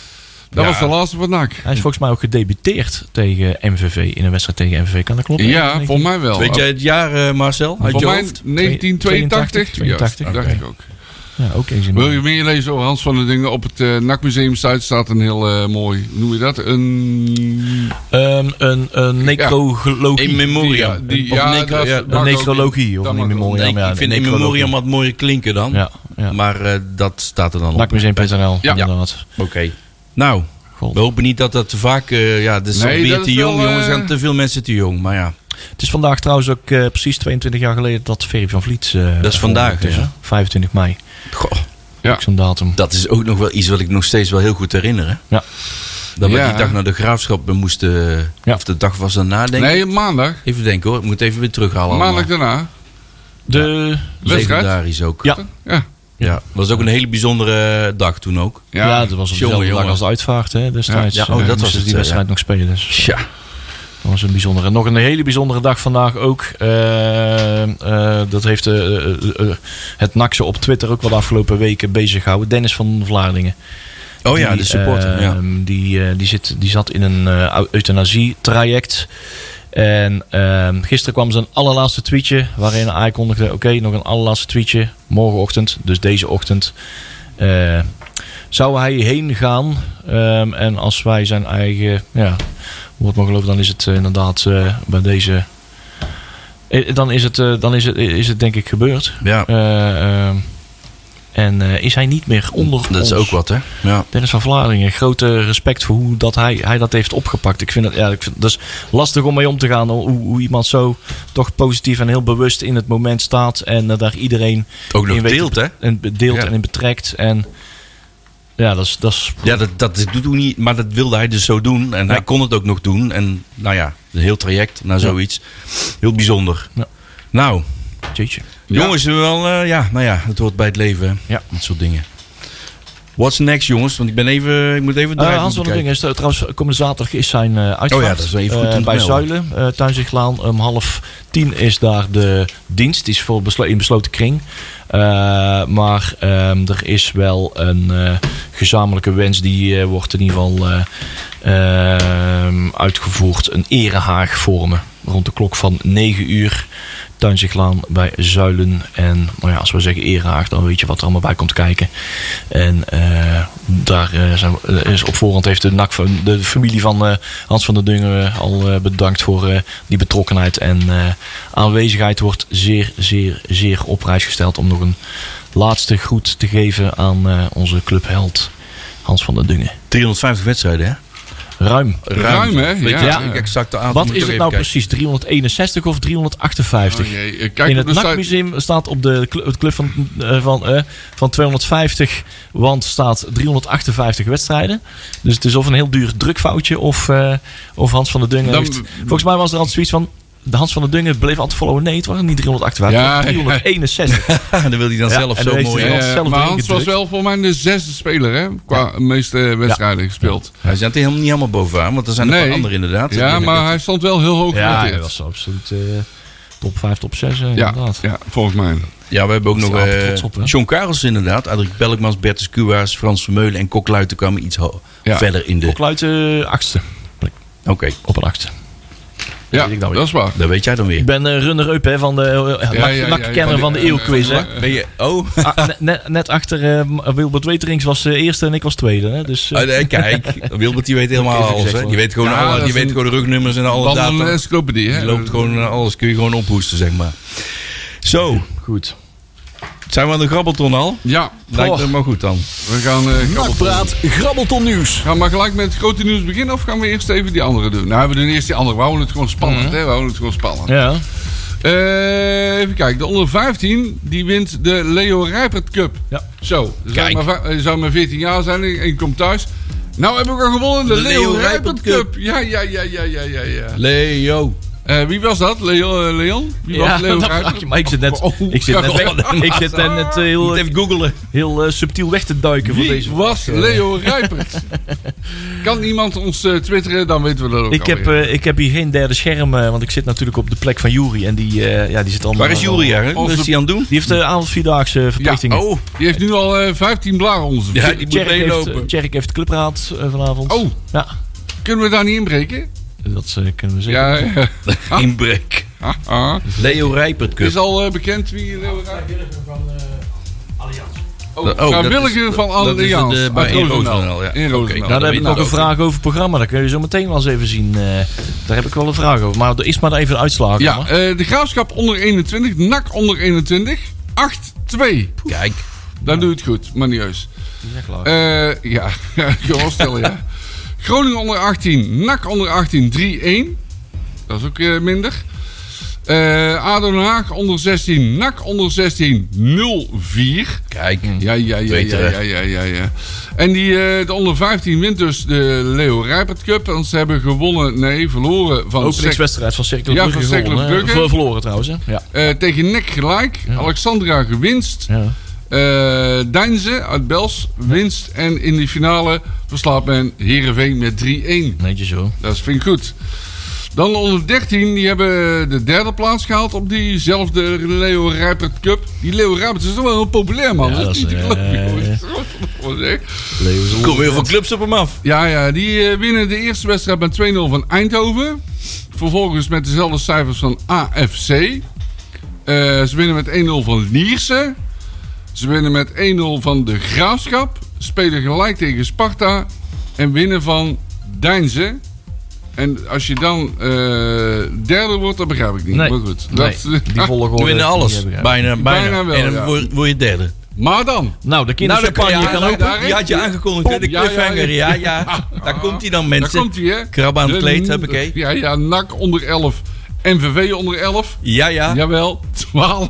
Speaker 4: Dat
Speaker 2: Ja.
Speaker 4: was de laatste van NAC.
Speaker 6: Hij is volgens mij ook gedebuteerd tegen MVV, in een wedstrijd tegen MVV, kan dat kloppen?
Speaker 4: Ja, voor mij wel.
Speaker 2: Weet jij het jaar, eh, Marcel? Uit
Speaker 4: Voor
Speaker 2: je
Speaker 4: mij
Speaker 2: hoofd?
Speaker 4: 1982.
Speaker 6: 82, 82,
Speaker 4: Juist, dacht
Speaker 6: oké.
Speaker 4: ik ook.
Speaker 6: Ja, ook eens in
Speaker 4: Wil je meer lezen over Hans van der Dingen? Op het eh, NAC Museum Zuid staat een heel eh, mooi, hoe noem je dat? Een...
Speaker 6: Ehm, een, een necrologie.
Speaker 2: In Memoriam.
Speaker 4: Die- die-
Speaker 2: Of
Speaker 4: ja,
Speaker 2: necro-
Speaker 4: dat-
Speaker 2: ja,
Speaker 4: dat-
Speaker 6: een necrologie, of
Speaker 4: Dat
Speaker 6: een
Speaker 4: mag
Speaker 6: in
Speaker 4: ook.
Speaker 2: nee,
Speaker 6: memoriam. ja,
Speaker 2: ik vind
Speaker 6: een
Speaker 2: in memoriam
Speaker 6: necrologie.
Speaker 2: wat mooier klinken dan.
Speaker 6: Ja, ja.
Speaker 2: Maar eh, dat staat er dan op.
Speaker 6: Nakmuseum.nl,
Speaker 4: Ja.
Speaker 6: inderdaad.
Speaker 2: Oké. Nou,
Speaker 6: God.
Speaker 2: we hopen niet dat dat te vaak... eh, ja, de
Speaker 4: Nee,
Speaker 2: nee,
Speaker 4: dat is
Speaker 2: te jong,
Speaker 4: wel, eh,
Speaker 2: jongens. En te veel mensen te jong. Maar ja,
Speaker 6: Het is vandaag trouwens ook eh, precies 22 jaar geleden dat Ferry van Vliet... eh,
Speaker 2: Dat is vandaag,
Speaker 6: vermoord
Speaker 2: ja.
Speaker 6: 25 mei,
Speaker 2: goh,
Speaker 4: Ja.
Speaker 6: ook zo'n datum.
Speaker 2: dat is ook nog wel iets wat ik nog steeds wel heel goed herinner. Hè?
Speaker 6: Ja.
Speaker 2: Dat we
Speaker 4: Ja.
Speaker 2: die dag naar de graafschap moesten...
Speaker 6: Ja.
Speaker 2: Of de dag was daarna, denk ik.
Speaker 4: Nee, maandag.
Speaker 2: Even denken hoor. Ik moet even weer
Speaker 6: Oh,
Speaker 2: terughalen
Speaker 4: Maandag
Speaker 2: allemaal.
Speaker 4: daarna.
Speaker 6: De,
Speaker 4: wedstrijd.
Speaker 2: Legendarisch ook.
Speaker 6: Ja.
Speaker 4: Ja.
Speaker 2: ja. Was ook een hele bijzondere eh, dag toen ook.
Speaker 6: ja,
Speaker 4: Ja,
Speaker 6: dat was
Speaker 2: Jongen,
Speaker 6: op dezelfde dag
Speaker 2: jongen.
Speaker 6: als de uitvaart hè, destijds.
Speaker 2: Ja, ja, oh,
Speaker 6: Eh,
Speaker 2: dat
Speaker 6: moesten
Speaker 2: was
Speaker 6: ze
Speaker 2: het,
Speaker 6: die
Speaker 2: eh,
Speaker 6: wedstrijd
Speaker 2: ja.
Speaker 6: nog spelen. Dus
Speaker 2: Tja.
Speaker 6: dat was een bijzondere. Nog een hele bijzondere dag vandaag ook. Eh, eh, dat heeft eh, eh, eh, het NAXen op Twitter ook wel de afgelopen weken bezig gehouden. Dennis van Vlaardingen.
Speaker 2: Oh ja,
Speaker 6: Die,
Speaker 2: de supporter.
Speaker 6: ehm,
Speaker 2: ja.
Speaker 6: die, eh, die, zit, die zat in een eh, eu- euthanasie-traject. En ehm, gisteren kwam zijn allerlaatste tweetje. Waarin hij kondigde: Oké, nog een allerlaatste tweetje. Morgenochtend, dus deze ochtend. eh, zou hij heen gaan? Ehm, en als wij zijn eigen ja, woord mogen geloven, dan is het eh, inderdaad eh, bij deze. eh, dan is het, eh, dan is het, is het denk ik gebeurd.
Speaker 2: ja.
Speaker 6: Eh, ehm, en eh, is hij niet meer onder
Speaker 2: Dat is
Speaker 6: ons.
Speaker 2: ook wat, hè? Ja.
Speaker 6: Dennis van Vlaardingen, grote respect voor hoe dat hij, hij dat heeft opgepakt. Ik vind dat, ja, ik vind, dat is lastig om mee om te gaan. Hoe, hoe iemand zo toch positief en heel bewust in het moment staat. En eh, daar iedereen
Speaker 2: Ook nog
Speaker 6: in weet-
Speaker 2: deelt, hè?
Speaker 6: En be- deelt
Speaker 2: Ja.
Speaker 6: en in betrekt. En ja, dat is, dat is
Speaker 2: Ja, dat, dat doet hij niet, maar dat wilde hij dus zo doen. En hij kon het ook nog doen. En nou ja, een heel traject naar zoiets. Heel bijzonder.
Speaker 6: Ja.
Speaker 2: Nou,
Speaker 6: jeetje.
Speaker 2: jongens, we wel, eh, ja, nou ja, het hoort bij het leven. hè.
Speaker 6: Ja.
Speaker 2: Dat soort dingen. What's next, jongens? Want ik ben even, ik moet even
Speaker 6: Eh,
Speaker 2: draaien.
Speaker 6: Hans van der Ding
Speaker 2: bekijken.
Speaker 6: is eh, trouwens komende zaterdag is zijn eh uitvaart.
Speaker 2: Oh ja, dat is wel even goed
Speaker 6: Eh,
Speaker 2: om te
Speaker 6: Bij
Speaker 2: melden.
Speaker 6: Zuilen, eh Tuinzichtlaan, om half tien is daar de dienst. Die is voor beslo- in besloten kring. Eh, maar ehm, er is wel een eh, gezamenlijke wens. Die eh, wordt in ieder geval eh, ehm, uitgevoerd. Een erehaag vormen. Rond de klok van 9 uur. Tuinzichtlaan bij Zuilen. En nou ja, als we zeggen erehaag, dan weet je wat er allemaal bij komt kijken. En eh, daar eh, zijn we- eh, is op voorhand heeft de, NAC, van- de familie van eh, Hans van der Dungen eh, al eh, bedankt voor eh, die betrokkenheid. En eh, aanwezigheid wordt zeer, zeer, zeer op prijs gesteld om nog een laatste groet te geven aan eh, onze clubheld Hans van der Dungen.
Speaker 2: 350 wedstrijden, hè?
Speaker 6: Ruim.
Speaker 4: Ruim, hè?
Speaker 2: Weet
Speaker 4: Ja.
Speaker 2: je
Speaker 6: Ja.
Speaker 2: het exacte aantal?
Speaker 6: Wat
Speaker 2: Nou, Moet ik
Speaker 6: is het
Speaker 2: even
Speaker 6: nou
Speaker 2: kijken.
Speaker 6: precies? 361 of 358?
Speaker 4: Oh jee, eh, Kijk
Speaker 6: in
Speaker 4: op
Speaker 6: het
Speaker 4: de site.
Speaker 6: NAC-museum staat op de cl- het club van, eh, van, eh, van 250, want staat 358 wedstrijden. Dus het is of een heel duur drukfoutje of, eh, of Hans van der Dungen.
Speaker 4: Dan-
Speaker 6: heeft- volgens mij was er altijd zoiets van. De Hans van der Dungen bleef altijd followen. Nee, het waren niet 358,
Speaker 4: Ja,
Speaker 6: het waren 361.
Speaker 2: dan wil hij dan
Speaker 6: Ja,
Speaker 2: zelf
Speaker 6: en
Speaker 2: zo
Speaker 6: dan heeft
Speaker 2: mooi.
Speaker 6: hij
Speaker 2: hè?
Speaker 6: zelf
Speaker 4: Eh,
Speaker 6: erin
Speaker 4: maar Hans was
Speaker 6: gedrukt.
Speaker 4: wel voor mij de zesde speler, hè? Qua meeste wedstrijden gespeeld.
Speaker 2: Hij staat er helemaal niet helemaal bovenaan, want er zijn nog
Speaker 4: Nee.
Speaker 2: een andere inderdaad.
Speaker 4: Ja,
Speaker 2: Ik-
Speaker 4: maar hij stond wel heel hoog
Speaker 6: ja, dat
Speaker 4: genoteerd.
Speaker 6: was absoluut eh, top 5, top 6 eh,
Speaker 4: ja,
Speaker 6: inderdaad.
Speaker 4: ja, volgens mij.
Speaker 2: Ja, we hebben ook
Speaker 6: Daar
Speaker 2: nog
Speaker 6: zijn we
Speaker 2: eh
Speaker 6: trots op, hè?
Speaker 2: John Karels inderdaad. Adrie Pelkmans, Bertus Kuwaars, Frans Vermeulen en Kok Luiten kwamen iets ho-
Speaker 4: Ja.
Speaker 2: verder in de... Oké,
Speaker 6: Klokluid eh, achtste. Plek. Op een achtste.
Speaker 4: Ja,
Speaker 6: weet ik nou
Speaker 4: dat is waar.
Speaker 2: dat weet jij dan weer.
Speaker 6: Ik ben eh, runner-up hè, van de eh,
Speaker 4: Ja, ja, ja,
Speaker 6: nak- nakkenner van de
Speaker 4: ja, ja,
Speaker 6: eeuwquiz.
Speaker 4: ja,
Speaker 6: hè.
Speaker 4: ja.
Speaker 2: Ben je... Oh,
Speaker 6: Ah, ne- net, net achter eh, M- Wilbert Weterings was eh, eerste en ik was tweede. Hè, dus, eh,
Speaker 2: ah, nee, kijk. Wilbert die weet helemaal
Speaker 6: Even gezegd,
Speaker 2: alles. Hè. Die
Speaker 6: hoor.
Speaker 2: weet gewoon,
Speaker 4: Ja,
Speaker 2: alle,
Speaker 4: dat
Speaker 2: die
Speaker 4: is
Speaker 2: weet
Speaker 4: een-
Speaker 2: gewoon de rugnummers en alle
Speaker 4: Dan een
Speaker 2: data.
Speaker 4: encyclopedie, hè?
Speaker 2: Die loopt gewoon naar alles. Kun je gewoon ophoesten, zeg maar. Zo,
Speaker 6: Goed.
Speaker 2: zijn we aan de grabbelton al?
Speaker 4: Ja,
Speaker 2: Lijkt me maar goed dan.
Speaker 4: we gaan... eh, grabbel-
Speaker 1: Nakpraat Grabbelton Nieuws.
Speaker 4: Gaan we maar gelijk met het grote nieuws beginnen of gaan we eerst even die andere doen? Nou, we doen eerst die andere. We houden het gewoon spannend, hè? We houden het gewoon spannend.
Speaker 6: Mhm. Ja.
Speaker 4: Eh, even kijken, de onder 15 die wint de Leo Rijpert Cup.
Speaker 6: Ja.
Speaker 4: Zo, je zou
Speaker 2: Kijk.
Speaker 4: maar, va- eh, zou maar 14 jaar zijn en ik kom thuis. Nou heb ik al gewonnen, de,
Speaker 2: De
Speaker 4: Leo,
Speaker 2: Leo
Speaker 4: Rijpert
Speaker 2: Rijpert
Speaker 4: Cup. Ja, ja, ja, ja, ja, ja. ja.
Speaker 2: Leo.
Speaker 4: Eh, wie was dat, Leo, eh, Leon? Wie
Speaker 6: Ja,
Speaker 4: was Leo
Speaker 6: dat
Speaker 4: Rijpert?
Speaker 6: vraag je, maar ik zit net,
Speaker 4: Oh, oh,
Speaker 6: ik zit net,
Speaker 4: oh,
Speaker 6: weg- ik zit net, net, eh, heel,
Speaker 2: Even googelen.
Speaker 6: heel eh, subtiel weg te duiken voor
Speaker 4: Wie
Speaker 6: deze. Eh.
Speaker 4: was Leo Rijpert? kan iemand ons eh, twitteren, dan weten we dat ook
Speaker 6: Ik heb,
Speaker 4: alweer.
Speaker 6: eh, ik heb hier geen derde scherm, eh, want ik zit natuurlijk op de plek van Jury. En die, eh, ja, die zit allemaal...
Speaker 2: Waar is Julia? hè? Wat is die aan het doen?
Speaker 6: Die heeft eh avondvierdaagse verplichtingen.
Speaker 2: Oh,
Speaker 4: Die heeft nu al eh, 15 blaren onder zijn
Speaker 2: ja,
Speaker 4: voeten.
Speaker 2: die moet
Speaker 6: Tjerk heeft,
Speaker 2: meelopen.
Speaker 6: Tjerk heeft clubraad eh, vanavond.
Speaker 4: Oh,
Speaker 6: Ja,
Speaker 4: kunnen we daar niet inbreken?
Speaker 6: dat eh, kunnen we zeker.
Speaker 4: Ja, ja.
Speaker 2: Inbreek.
Speaker 4: Ah, ah.
Speaker 2: Leo Rijpert Cup.
Speaker 4: Is al eh, bekend wie Leo Rijpert van
Speaker 2: Oh,
Speaker 4: Allianz.
Speaker 2: dat
Speaker 4: Oh,
Speaker 2: is-
Speaker 4: vrijwilliger van
Speaker 2: dat is het,
Speaker 4: Allianz.
Speaker 2: eh, bij
Speaker 4: uit
Speaker 2: in
Speaker 4: Roosendaal.
Speaker 2: Roosendaal,
Speaker 4: In
Speaker 2: ja.
Speaker 4: Roosendaal.
Speaker 2: Oké,
Speaker 6: Nou, daar
Speaker 2: dat
Speaker 6: heb ik nog
Speaker 2: weet
Speaker 6: een
Speaker 2: ik
Speaker 6: vraag over het programma. Dat kun je zo meteen wel eens even zien. eh. daar heb ik wel een vraag over. Maar er is maar even een uitslag.
Speaker 4: Ja, eh, de Graafschap onder 21, NAC onder 21, 8-2.
Speaker 2: Kijk.
Speaker 4: Dan doe je het goed, maar niet heus. Eh, ja, gewoon stellen, ja. Groningen onder 18, NAC onder 18, 3-1. Dat is ook eh, minder. Eh ADO Den Haag onder 16, NAC onder 16, 0-4.
Speaker 2: Kijk.
Speaker 4: Ja, ja, ja, ja,
Speaker 2: Betere.
Speaker 4: ja, ja, ja, ja. En die, eh, de onder 15 wint dus de Leo Rijpert Cup. Want ze hebben gewonnen, nee, verloren van Sek-
Speaker 6: Openingswedstrijd van Cirkel
Speaker 4: Ja,
Speaker 6: Brugge
Speaker 4: van Cirkel
Speaker 6: gewonnen, hè.
Speaker 4: Brugge.
Speaker 6: Ver- verloren trouwens, hè? Ja.
Speaker 4: eh, tegen Nek gelijk. Alexandra gewinst.
Speaker 6: ja.
Speaker 4: Eh Deinze uit Bels winst. En in die finale verslaat men Heerenveen met 3-1.
Speaker 6: Netjes zo.
Speaker 4: Dat vind ik goed. Dan de onder 13, die hebben de derde plaats gehaald op diezelfde Leo Rijpert Cup. Die Leo Rijpert is toch wel heel populair, man.
Speaker 6: Ja,
Speaker 4: dat,
Speaker 6: dat
Speaker 4: is
Speaker 6: is,
Speaker 4: niet te
Speaker 6: eh,
Speaker 4: geloven, jongens. Wat voor zeg.
Speaker 2: Er komen heel veel clubs op hem af.
Speaker 4: Ja, ja, die eh, winnen de eerste wedstrijd met 2-0 van Eindhoven. Vervolgens met dezelfde cijfers van AFC. Eh, ze winnen met 1-0 van Lierse. Ze winnen met 1-0 van De Graafschap. Spelen gelijk tegen Sparta. En winnen van Deinze. En als je dan eh, derde wordt, dat begrijp ik niet.
Speaker 6: Nee.
Speaker 4: Maar goed.
Speaker 6: Nee,
Speaker 4: Dat,
Speaker 6: die volgorde.
Speaker 2: We winnen
Speaker 6: die
Speaker 2: nou alles.
Speaker 6: hebben we.
Speaker 2: Bijna, bijna.
Speaker 4: Bijna wel,
Speaker 2: en
Speaker 4: ja.
Speaker 2: dan word, word je derde.
Speaker 4: maar dan.
Speaker 6: Nou, de kinderchampagne
Speaker 2: ja,
Speaker 6: kan
Speaker 4: daar-
Speaker 6: ook.
Speaker 4: daar-
Speaker 2: Die had je aangekondigd, hè, de
Speaker 4: Oh, Ja, ja, ja.
Speaker 2: cliffhanger. Ja, ja. Daar komt hij dan, mensen.
Speaker 4: Daar komt hij, hè?
Speaker 2: Krab aan het
Speaker 4: De-
Speaker 2: kleed, huppakee.
Speaker 4: Ja, ja, NAC onder 11. MVV onder 11.
Speaker 2: Ja, ja.
Speaker 4: Jawel, 12,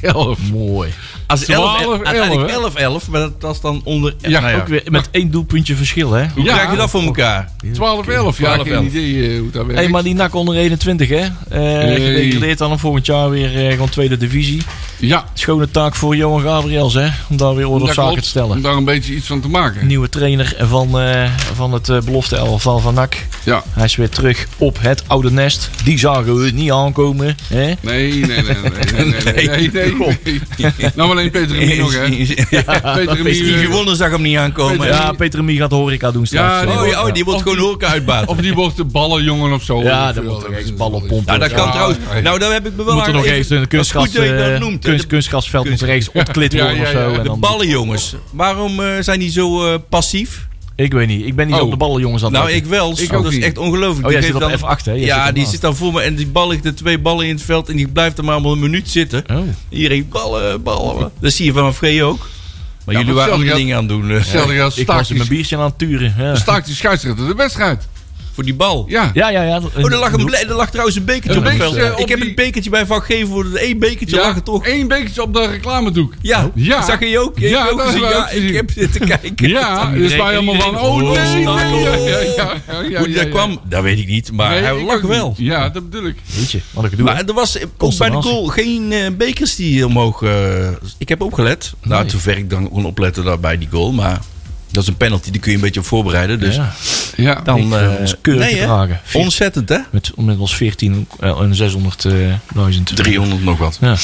Speaker 4: 11.
Speaker 6: Mooi.
Speaker 2: Als 11,
Speaker 4: 12,
Speaker 2: 11, uiteindelijk
Speaker 4: hè?
Speaker 2: 11, 11, maar dat was dan onder...
Speaker 4: Ja,
Speaker 2: nou
Speaker 6: Ook weer met één doelpuntje verschil, hè?
Speaker 2: Hoe
Speaker 4: Ja.
Speaker 2: krijg je dat voor elkaar?
Speaker 4: 12, 11. Ja,
Speaker 2: 12,
Speaker 4: geen
Speaker 2: 11.
Speaker 4: idee eh, hoe dat werkt.
Speaker 6: Hé, maar die NAC onder 21, hè? Eh
Speaker 4: Hey.
Speaker 6: Gedegradeerd dan volgend jaar weer eh, gewoon tweede divisie.
Speaker 4: ja,
Speaker 6: Schone taak voor Johan Gabriels, hè? Om daar weer orde op
Speaker 4: dat
Speaker 6: zaken
Speaker 4: klopt.
Speaker 6: te stellen.
Speaker 4: Om daar een beetje iets van te maken.
Speaker 6: Nieuwe trainer van, eh, van het eh belofte elftal van NAC.
Speaker 4: Ja,
Speaker 6: Hij is weer terug op het oude nest. Die zagen we niet aankomen. Hè?
Speaker 4: nee, nee, nee, nee, nee, nee, nee, nee, nee. Nou, alleen Peter en Mie nog, hè. Peter en
Speaker 2: Die
Speaker 4: Mie, eh,
Speaker 2: gewonnen zag hem niet aankomen.
Speaker 4: Peter-
Speaker 6: Ja, Peter Mie gaat de horeca doen straks.
Speaker 4: Ja, die
Speaker 2: Oh, ja, oh, die wordt
Speaker 4: Of
Speaker 2: gewoon horeca uitbaat.
Speaker 4: Of die wordt de ballenjongen of zo.
Speaker 6: Ja,
Speaker 4: Of,
Speaker 6: dat
Speaker 4: eh,
Speaker 6: wordt toch
Speaker 4: dat
Speaker 6: echt
Speaker 4: is-
Speaker 6: ballenpomp.
Speaker 2: Nou, dat kan
Speaker 4: Ja,
Speaker 2: trouwens.
Speaker 4: ja.
Speaker 2: Nou, daar heb ik me wel
Speaker 6: moet er
Speaker 2: aan
Speaker 6: nog
Speaker 2: even-
Speaker 6: even een
Speaker 2: dat is
Speaker 6: kunstgas,
Speaker 2: goed dat je dat
Speaker 6: eh,
Speaker 2: noemt, hè.
Speaker 6: kunst,
Speaker 2: De-
Speaker 6: kunstgrasveld moet er ergens ontklit
Speaker 4: Ja,
Speaker 6: worden
Speaker 4: ja,
Speaker 6: of zo.
Speaker 4: ja.
Speaker 2: De
Speaker 6: en dan-
Speaker 2: ballen, jongens. Waarom eh, zijn die zo eh, passief?
Speaker 6: ik weet niet. Ik ben niet
Speaker 4: Oh.
Speaker 6: op de ballen, jongens. Aan het
Speaker 2: Nou, ik
Speaker 6: letten.
Speaker 2: wel.
Speaker 4: Ik ook
Speaker 2: dat is
Speaker 4: niet.
Speaker 2: echt ongelooflijk.
Speaker 6: Oh, jij
Speaker 2: Die
Speaker 6: zit
Speaker 2: geeft
Speaker 6: op F8, hè? Jij
Speaker 2: ja,
Speaker 6: zit op
Speaker 2: die
Speaker 6: maat.
Speaker 2: zit dan voor me. En die bal ligt er twee ballen in het veld. En die blijft er maar allemaal een minuut zitten.
Speaker 6: Oh.
Speaker 2: Iedereen ballen, ballen. Dat zie je van Free ook. Maar
Speaker 4: maar
Speaker 2: jullie waren andere
Speaker 4: hetzelfde
Speaker 2: dingen aan het doen. eh,
Speaker 4: Stel je als
Speaker 6: Ik was
Speaker 4: staakt
Speaker 6: in mijn
Speaker 4: die,
Speaker 6: biertje aan het turen. Ja,
Speaker 4: staakt die scheidsrechter de wedstrijd.
Speaker 2: Voor die bal.
Speaker 4: Ja,
Speaker 6: ja, ja. ja.
Speaker 2: Oh, er lag, een, ble- er lag trouwens een bekertje
Speaker 4: Een
Speaker 2: op het veld.
Speaker 4: bekertje eh, op
Speaker 2: Ik heb
Speaker 4: die-
Speaker 2: een bekertje bij Van Geven voor één bekertje
Speaker 4: ja
Speaker 2: lag er toch.
Speaker 4: één bekertje op de reclamedoek.
Speaker 2: Ja,
Speaker 4: Ja.
Speaker 2: zag je ook? Ik
Speaker 4: Ja,
Speaker 2: heb ook
Speaker 4: dat
Speaker 2: gezien.
Speaker 4: hebben we
Speaker 2: ja,
Speaker 4: ook gezien.
Speaker 2: ik heb zitten kijken.
Speaker 4: Ja, dus wij allemaal van, oh nee, nee, nee, ja, ja, ja, ja, ja,
Speaker 2: Hoe die
Speaker 4: ja,
Speaker 2: daar
Speaker 4: ja.
Speaker 2: kwam, dat weet ik niet. Maar
Speaker 4: Nee,
Speaker 2: hij
Speaker 4: ik
Speaker 2: lag
Speaker 4: ook
Speaker 2: wel.
Speaker 4: niet. Ja, dat bedoel ik.
Speaker 6: Weet je, wat ik doe.
Speaker 2: Maar er was eh, ook bij de
Speaker 6: Consternatie.
Speaker 2: goal geen eh, bekers die omhoog. eh, ik heb opgelet. Nou,
Speaker 6: Nee.
Speaker 2: zover ik dan kon opletten daar bij die goal. Maar dat is een penalty, die kun je een beetje op voorbereiden. Dus
Speaker 6: Ja,
Speaker 4: Ja.
Speaker 2: dan.
Speaker 6: Ik, eh,
Speaker 2: eh,
Speaker 6: is keurig
Speaker 2: hè?
Speaker 6: gedragen.
Speaker 2: Ontzettend, hè?
Speaker 6: eh, met, met ons 14 en 600.000.
Speaker 2: 300 nog wat.
Speaker 6: Ja.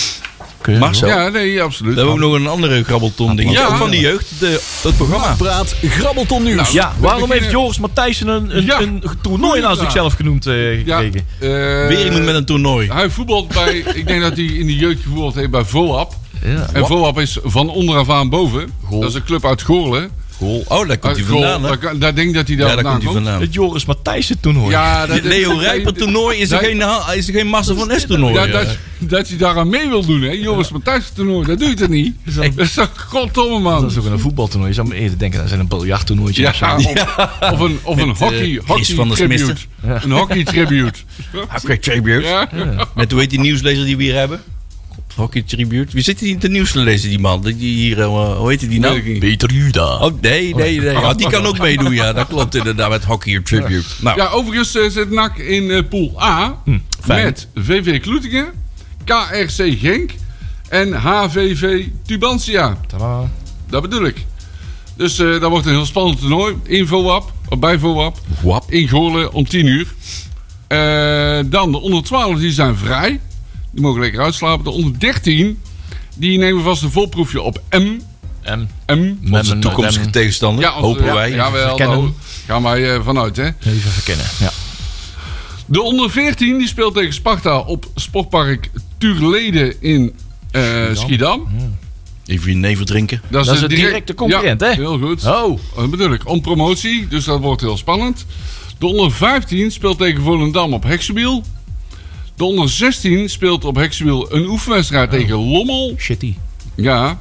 Speaker 6: Keurig,
Speaker 2: Marcel.
Speaker 6: hoor.
Speaker 4: Ja, nee, absoluut.
Speaker 2: We hebben ook nog een andere grabbelton ding.
Speaker 4: Ja.
Speaker 2: Ook van die jeugd, de, het programma. Nou,
Speaker 1: Praat Grabbelton Nieuws.
Speaker 3: Ja,
Speaker 4: Ah, we
Speaker 3: waarom
Speaker 4: beginnen-
Speaker 3: heeft Joris Matthijssen een, een,
Speaker 4: Ja.
Speaker 3: een toernooi nou zichzelf genoemd eh,
Speaker 4: Ja,
Speaker 3: gekregen?
Speaker 4: eh,
Speaker 2: Weer iemand met een toernooi.
Speaker 4: Hij voetbalt bij, ik denk dat hij in de jeugd gevoeld heeft bij Volap.
Speaker 3: Ja.
Speaker 4: En Volap is van onderaf aan boven. Dat is een club uit Goorlen.
Speaker 2: Goal. Oh, daar komt
Speaker 4: Uit
Speaker 2: hij
Speaker 4: Goorl.
Speaker 2: vandaan, hè?
Speaker 4: Daar, kan- daar denk ik dat hij daar,
Speaker 2: Ja, daar
Speaker 4: vandaan
Speaker 2: komt hij vandaan.
Speaker 3: Het Joris Matthijssen toernooi.
Speaker 4: Ja, dat
Speaker 2: Dit
Speaker 4: is-
Speaker 2: Leo Rijper toernooi is er
Speaker 4: Nee.
Speaker 2: geen, ha- is er geen Marcel van S toernooi.
Speaker 4: Ja,
Speaker 2: eh.
Speaker 4: dat, dat hij daaraan mee wil doen, hè? Jongens, ja. Matthijs toernooi, dat doe je toch niet? Dat is toch goddomme,
Speaker 6: Dat
Speaker 4: man.
Speaker 6: is ook een voetbaltoernooi. Je zou me eerder denken, dat zijn een biljarttoernooitje.
Speaker 4: Ja,
Speaker 6: of zo.
Speaker 4: of, of een, of een
Speaker 2: Met,
Speaker 4: hockey,
Speaker 2: eh,
Speaker 4: hockey
Speaker 2: Chris van der
Speaker 4: tribute.
Speaker 2: Smisten.
Speaker 4: Een hockey tribute.
Speaker 2: Hockey Tribute.
Speaker 4: Ja?
Speaker 2: Met hoe heet die nieuwslezer die we hier hebben? Hockey Tribute. Wie zit hier in de nieuwslezer, die man? Die die hier, eh, hoe heet die nou?
Speaker 4: Weet ik niet.
Speaker 6: Peter Juda.
Speaker 2: Oh, nee, nee, nee. Ja, die kan ook meedoen, ja. Dat klopt inderdaad met Hockey Tribute. Nou,
Speaker 4: Ja, overigens eh, zit NAC in eh, pool A
Speaker 2: Hm, fijn.
Speaker 4: met VV Kloetingen, KRC Genk en HVV Tubantia. Dat bedoel ik. Dus eh, dat wordt een heel spannend toernooi. In VOAP, of bij VOAP,
Speaker 2: wap.
Speaker 4: in Goorlen om 10 uur. Eh, dan de onder 12, die zijn vrij. Die mogen lekker uitslapen. De onder 13, die nemen vast een volproefje op M.
Speaker 6: En
Speaker 4: M.
Speaker 2: Onze toekomstige tegenstander,
Speaker 4: Ja, onze-
Speaker 2: hopen
Speaker 4: ja,
Speaker 2: wij.
Speaker 4: Jawel,
Speaker 6: verkennen.
Speaker 4: daar gaan wij eh, vanuit, hè.
Speaker 6: even verkennen. Ja.
Speaker 4: De onder 14 die speelt tegen Sparta op Sportpark Tuurlede in eh, Schiedam.
Speaker 2: Even je neven drinken.
Speaker 4: Dat,
Speaker 6: Hm. is
Speaker 4: de
Speaker 6: een directe concurrent,
Speaker 4: Ja,
Speaker 6: hè?
Speaker 4: Heel goed.
Speaker 6: Oh.
Speaker 4: Dat bedoel ik. Om promotie, dus dat wordt heel spannend. De onder 15 speelt tegen Volendam op Heksenwiel. De onder 16 speelt op Heksenwiel een oefenwedstrijd
Speaker 6: Oh.
Speaker 4: tegen Lommel.
Speaker 6: Shitty.
Speaker 4: Ja.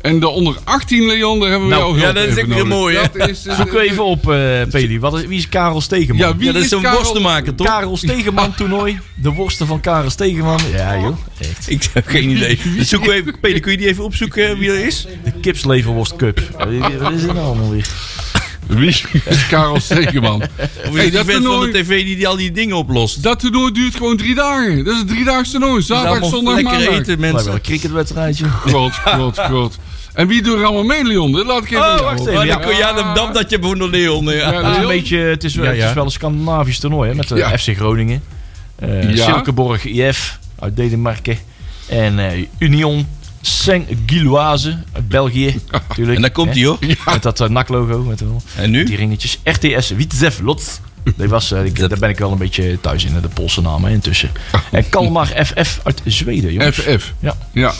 Speaker 4: En de onder 18, Leon, daar hebben we
Speaker 6: Nou,
Speaker 4: jou
Speaker 6: ja,
Speaker 4: hulp
Speaker 6: dat is
Speaker 4: even
Speaker 6: ook weer
Speaker 4: nodig.
Speaker 6: mooi, hè?
Speaker 4: Dat is, eh,
Speaker 6: Zoek even op, eh Peli. Wat is, wie is Karel Stegeman?
Speaker 4: Ja, wie
Speaker 2: Ja, dat is
Speaker 4: is
Speaker 2: een
Speaker 4: Karel-
Speaker 2: worstenmaker, toch?
Speaker 6: Karel Stegeman toernooi. De worsten van Karel Stegeman. Ja, joh. Echt.
Speaker 2: Ik heb geen idee. Dus zoeken we even, Peter, kun je die even opzoeken eh, wie dat is?
Speaker 6: De Kipsleverworst Cup. Wat is dit nou allemaal weer?
Speaker 4: Wie is Karel Stekeman?
Speaker 2: Of is
Speaker 4: Hey,
Speaker 2: het die
Speaker 4: dat
Speaker 2: vent van de
Speaker 4: toernooi-
Speaker 2: tv die, die al die dingen oplost?
Speaker 4: Dat toernooi duurt gewoon drie dagen. Dat is een driedaags toernooi. Zaterdag,
Speaker 2: Allemaal
Speaker 4: zondag,
Speaker 2: lekker
Speaker 4: maandag.
Speaker 2: eten,
Speaker 6: Lijkt wel
Speaker 2: mensen.
Speaker 6: een cricketwedstrijdje.
Speaker 4: God, god, god. En wie doet er allemaal mee, Leon? Dat laat ik even...
Speaker 6: Oh, wacht even.
Speaker 2: Ja,
Speaker 6: Ja,
Speaker 2: dan kun- ja, dan dam dat je voor de Leon. Ja.
Speaker 4: Ja,
Speaker 6: Het is,
Speaker 4: Leon?
Speaker 6: een Ah, beetje, het, is, wel-
Speaker 2: Ja, ja.
Speaker 6: het is wel een Scandinavisch toernooi hè, met de
Speaker 4: Ja.
Speaker 6: FC Groningen. eh
Speaker 4: Ja.
Speaker 6: Silkeborg IF uit Denemarken. En eh, Union Saint-Gilloise uit België. Natuurlijk,
Speaker 2: En daar komt
Speaker 6: hè,
Speaker 2: hij hoor.
Speaker 6: Met dat NAC-logo. Met wel
Speaker 2: En
Speaker 6: die
Speaker 2: nu?
Speaker 6: ringetjes. RTS Witzev Lot. Die was, eh, ik- daar ben ik wel een beetje thuis in, hè, de Poolse namen hè, intussen. En Kalmar FF uit Zweden, jongens.
Speaker 4: FF.
Speaker 6: Ja.
Speaker 4: Ja.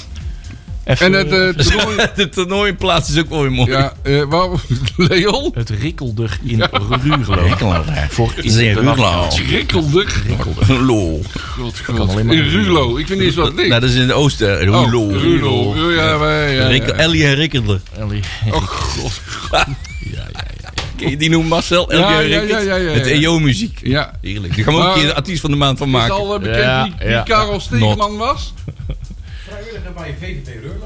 Speaker 6: F,
Speaker 4: En
Speaker 6: eh,
Speaker 4: het eh, toernooi...
Speaker 2: De toernooiplaats is ook wel weer mooi.
Speaker 4: Ja, eh, waar, Leon?
Speaker 6: het Rikkelder in Ruurlo.
Speaker 2: Hekkelaar.
Speaker 6: Voor
Speaker 2: Dat is een
Speaker 6: internationaal.
Speaker 2: Ruurlo.
Speaker 4: Rikkelder.
Speaker 2: Lol.
Speaker 4: God,
Speaker 6: kan
Speaker 4: god.
Speaker 6: alleen maar-
Speaker 4: In Rulo. Ik weet niet eens wat het ligt.
Speaker 2: Nou, dat is in het oosten.
Speaker 4: Oh,
Speaker 2: Rulo.
Speaker 4: Rulo. Rulo. Ja, wij, ja,
Speaker 2: Rikke-
Speaker 4: ja.
Speaker 2: Ellie en Rikkerder.
Speaker 4: Oh, god.
Speaker 2: Ken je die noemen Marcel? Ellie
Speaker 4: Ja,
Speaker 2: en
Speaker 4: ja,
Speaker 2: Rikkert.
Speaker 4: ja, ja, ja, ja.
Speaker 2: Met EO-muziek.
Speaker 4: Ja.
Speaker 2: Heerlijk. Daar gaan we ook
Speaker 4: Maar-
Speaker 2: een keer de artiest van de maand van
Speaker 4: Is
Speaker 2: maken.
Speaker 4: al eh, bekend
Speaker 6: Ja,
Speaker 4: wie, wie
Speaker 6: ja.
Speaker 4: Karel Stegeman was?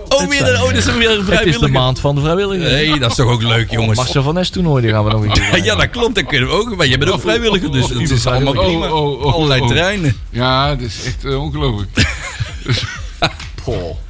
Speaker 2: Oh, weer, een- oh, dat is een weer een
Speaker 6: Het is de
Speaker 2: vrijwilliger.
Speaker 6: maand van de vrijwilligers.
Speaker 2: Nee, dat is toch ook leuk, jongens.
Speaker 6: Marcel van Es toernooi, die gaan we nog een keer
Speaker 2: Ja, dat klopt. Dat kunnen we ook. Maar jij bent ook vrijwilliger, dus het is allemaal
Speaker 4: Oh,
Speaker 2: prima.
Speaker 4: oh, oh,
Speaker 2: Allerlei
Speaker 4: oh.
Speaker 2: terreinen.
Speaker 4: Ja, dat is echt eh, ongelooflijk.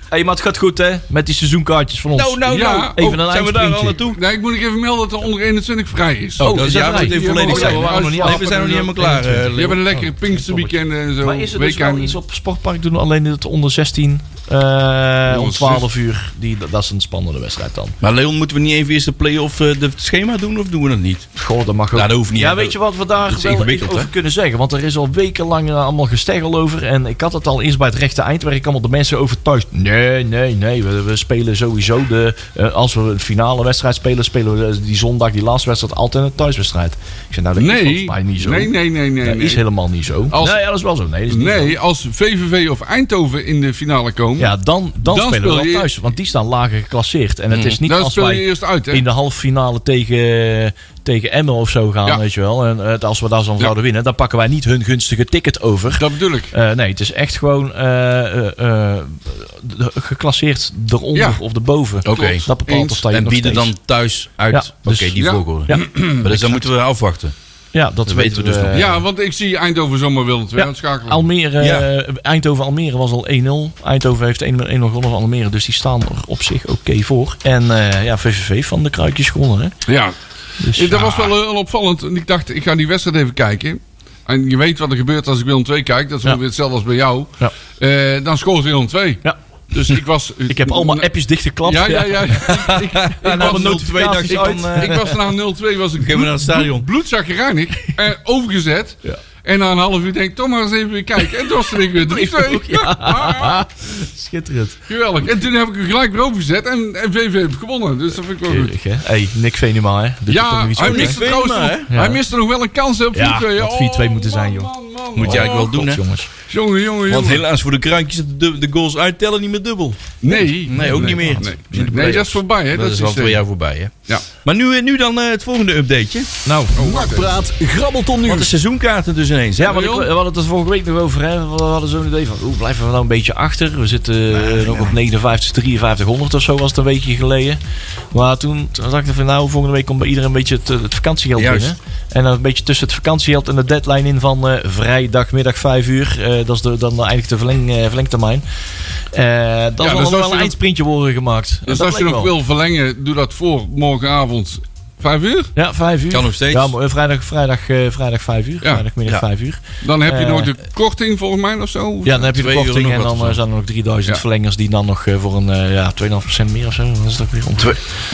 Speaker 6: hey, maar het gaat goed hè, met die seizoenkaartjes van ons.
Speaker 2: Nou, nou,
Speaker 4: Ja,
Speaker 2: nou.
Speaker 4: even
Speaker 2: Oh,
Speaker 6: een
Speaker 2: zijn we daar
Speaker 6: eindsprintje.
Speaker 2: al naartoe?
Speaker 4: Nee, ik moet nog even melden dat er onder 21 vrij is.
Speaker 2: Oh, dat
Speaker 6: is
Speaker 2: is
Speaker 6: dat
Speaker 2: ja,
Speaker 6: vrij?
Speaker 2: moet even volledig
Speaker 4: Oh, ja,
Speaker 2: zijn.
Speaker 4: we waren nog niet
Speaker 2: Nee,
Speaker 4: af.
Speaker 2: we zijn nog niet helemaal klaar. eh,
Speaker 4: Je hebt
Speaker 2: Leon.
Speaker 4: een lekker Pinksterweekend en zo.
Speaker 6: maar is er dus wel
Speaker 4: weekend.
Speaker 6: iets op sportpark doen, alleen het onder 16, eh om 12 uur. Die, dat dat is een spannende wedstrijd dan.
Speaker 2: Maar Leon, moeten we niet even eerst de play-off eh, de schema doen of doen we dat niet?
Speaker 6: Goh, dat mag ook.
Speaker 2: Ja, dat hoeft niet.
Speaker 6: Ja, weet je wat we daar
Speaker 2: Dat is
Speaker 6: wel
Speaker 2: ingewikkeld,
Speaker 6: even over
Speaker 2: hè?
Speaker 6: kunnen zeggen? Want er is al wekenlang eh, allemaal gesteggel over. En ik had het al eerst bij het rechte eind, waar ik allemaal de mensen overtuigd. Nee, nee, nee. We, we spelen sowieso de. eh, als we een finale wedstrijd spelen, spelen we eh, die zondag, die laatste wedstrijd, altijd een thuiswedstrijd. Ik zei, nou, dat is
Speaker 4: Nee,
Speaker 6: volgens mij niet zo.
Speaker 4: nee, nee, nee, nee.
Speaker 6: dat is
Speaker 4: nee.
Speaker 6: helemaal niet zo.
Speaker 4: Als-
Speaker 6: Nee, ja, dat is wel zo. Nee, dat is niet zo.
Speaker 4: Nee, als VVV of Eindhoven in de finale komen,
Speaker 6: Ja, dan, dan,
Speaker 4: Dan
Speaker 6: spelen we
Speaker 4: speel
Speaker 6: wel
Speaker 4: je- Mhm.
Speaker 6: thuis. Want die staan lager geclasseerd. En het is niet
Speaker 4: dan
Speaker 6: als
Speaker 4: speel
Speaker 6: wij
Speaker 4: je eerst uit, hè?
Speaker 6: in de halve finale tegen, tegen Emmen of zo gaan,
Speaker 4: Ja.
Speaker 6: weet je wel. En eh, als we daar zo
Speaker 4: Ja.
Speaker 6: zouden winnen, dan pakken wij niet hun gunstige ticket over.
Speaker 4: Dat bedoel ik.
Speaker 6: Eh, nee, het is echt gewoon eh, eh, eh, de- geclasseerd eronder
Speaker 4: Ja.
Speaker 6: of erboven.
Speaker 2: Oké.
Speaker 6: Dat bepaalt
Speaker 4: Eens.
Speaker 6: of sta je
Speaker 2: En
Speaker 6: nog
Speaker 2: bieden
Speaker 6: steeds.
Speaker 2: dan thuis uit.
Speaker 6: Ja,
Speaker 2: Oké,
Speaker 6: dus-
Speaker 2: die
Speaker 4: Ja.
Speaker 2: volgorde.
Speaker 6: Ja.
Speaker 2: Maar dus dan moeten we afwachten.
Speaker 6: Ja, dat, weten we dus nog. niet.
Speaker 4: ja, want ik zie Eindhoven zomaar Willem II
Speaker 6: Ja,
Speaker 4: uitschakelen.
Speaker 6: Almere,
Speaker 2: Ja.
Speaker 6: eh, Eindhoven-Almere was al 1-0. Eindhoven heeft 1-0 gewonnen van Almere, dus die staan er op zich oké voor. En eh, ja, VVV van de kruikjes gewonnen, hè?
Speaker 4: ja.
Speaker 6: Dus,
Speaker 4: Eh, Dat was wel eh, opvallend. En Ik dacht, ik ga die wedstrijd even kijken. En je weet wat er gebeurt als ik Willem 2 kijk. Dat is
Speaker 6: Ja.
Speaker 4: ongeveer hetzelfde als bij jou.
Speaker 6: Ja.
Speaker 4: Eh, dan scoort Willem 2.
Speaker 6: Ja.
Speaker 4: Dus ik was...
Speaker 6: Ik heb allemaal appjes dichtgeklapt.
Speaker 4: Ja, ja, ja. Ik, ik,
Speaker 2: En
Speaker 4: was-
Speaker 2: dan een 02 dacht ik van... eh,
Speaker 4: ik oh, was na 0-2 was ik
Speaker 2: Geef me naar het stadion.
Speaker 4: bloedzagrijnig en eh, overgezet. En na een half uur denk ik, toch maar eens even weer kijken. En toen was het denk ik weer 3-2.
Speaker 3: Schitterend.
Speaker 4: Geweldig. En toen heb ik hem gelijk weer overgezet en, en VV heeft gewonnen. Dus dat vind ik wel goed.
Speaker 6: Keurig, hè? Hey, Nick Venema, hè? Doet er toch
Speaker 4: Ja,
Speaker 6: nog iets
Speaker 4: hij
Speaker 6: goed,
Speaker 4: miste,
Speaker 6: hè?
Speaker 4: trouwens
Speaker 2: Venema,
Speaker 4: nog, hij miste nog wel een kans hè, op 4-2.
Speaker 6: Ja, had 4-2 moeten zijn, joh.
Speaker 4: Man, man,
Speaker 2: Moet je eigenlijk wel
Speaker 4: Oh,
Speaker 2: doen, hè?
Speaker 6: jongens.
Speaker 4: Jongen, jongen,
Speaker 2: Want
Speaker 4: jongen.
Speaker 2: helaas voor de kruintjes, de, de goals uittellen niet meer dubbel.
Speaker 4: Nee.
Speaker 2: Nee, ook niet meer.
Speaker 4: Nee,
Speaker 2: In de
Speaker 4: Nee, dat
Speaker 2: play-offs.
Speaker 4: is voorbij, hè?
Speaker 2: Dat, is al
Speaker 4: systeem.
Speaker 6: eh,
Speaker 2: twee jaar voorbij, hè?
Speaker 4: Ja.
Speaker 2: Maar nu, eh, nu dan eh, het volgende updateje.
Speaker 6: Nou,
Speaker 1: Nakpraat, grabbelton
Speaker 2: Want de
Speaker 1: nieuws.
Speaker 2: seizoenkaarten dus ineens.
Speaker 6: Ja, want ik, we hadden het er vorige week nog over. Hè. We hadden zo'n idee van, hoe blijven we nou een beetje achter? We zitten eh, nog op 59, 5300 of zo was het een weekje geleden. Maar toen, toen dacht ik van, nou, volgende week komt bij iedereen een beetje het, eh, het vakantiegeld
Speaker 2: Juist.
Speaker 6: binnen. En dan een beetje tussen het vakantiegeld en de deadline in van eh, vrijdagmiddag 5 uur. Eh, dat is de, dan eigenlijk de verleng, eh, verlengtermijn. Eh,
Speaker 4: dus
Speaker 6: dan
Speaker 4: als
Speaker 6: zal er
Speaker 4: je
Speaker 6: wel
Speaker 4: nog-
Speaker 6: een eindsprintje worden gemaakt.
Speaker 4: Dus
Speaker 6: dat
Speaker 4: als je
Speaker 6: leek
Speaker 4: nog
Speaker 6: wel.
Speaker 4: wil verlengen, doe dat voor morgenavond 5 uur.
Speaker 6: Ja, 5 uur.
Speaker 2: Kan nog steeds.
Speaker 6: Ja, maar, eh, vrijdag, vrijdag, eh, vrijdag 5 uur. Vrijdagmiddag
Speaker 2: Ja.
Speaker 6: 5 uur.
Speaker 4: Dan heb je
Speaker 6: Eh.
Speaker 4: nog de korting volgens mij of zo.
Speaker 6: Ja, dan heb je de
Speaker 2: Twee euro
Speaker 6: korting
Speaker 2: nog
Speaker 6: en
Speaker 2: wat
Speaker 6: dan
Speaker 2: of zo.
Speaker 6: eh, zijn er nog 3000
Speaker 4: Ja.
Speaker 6: verlengers die dan nog eh, voor een eh, ja, 2,5% meer of zo. Dat is het ook weer om.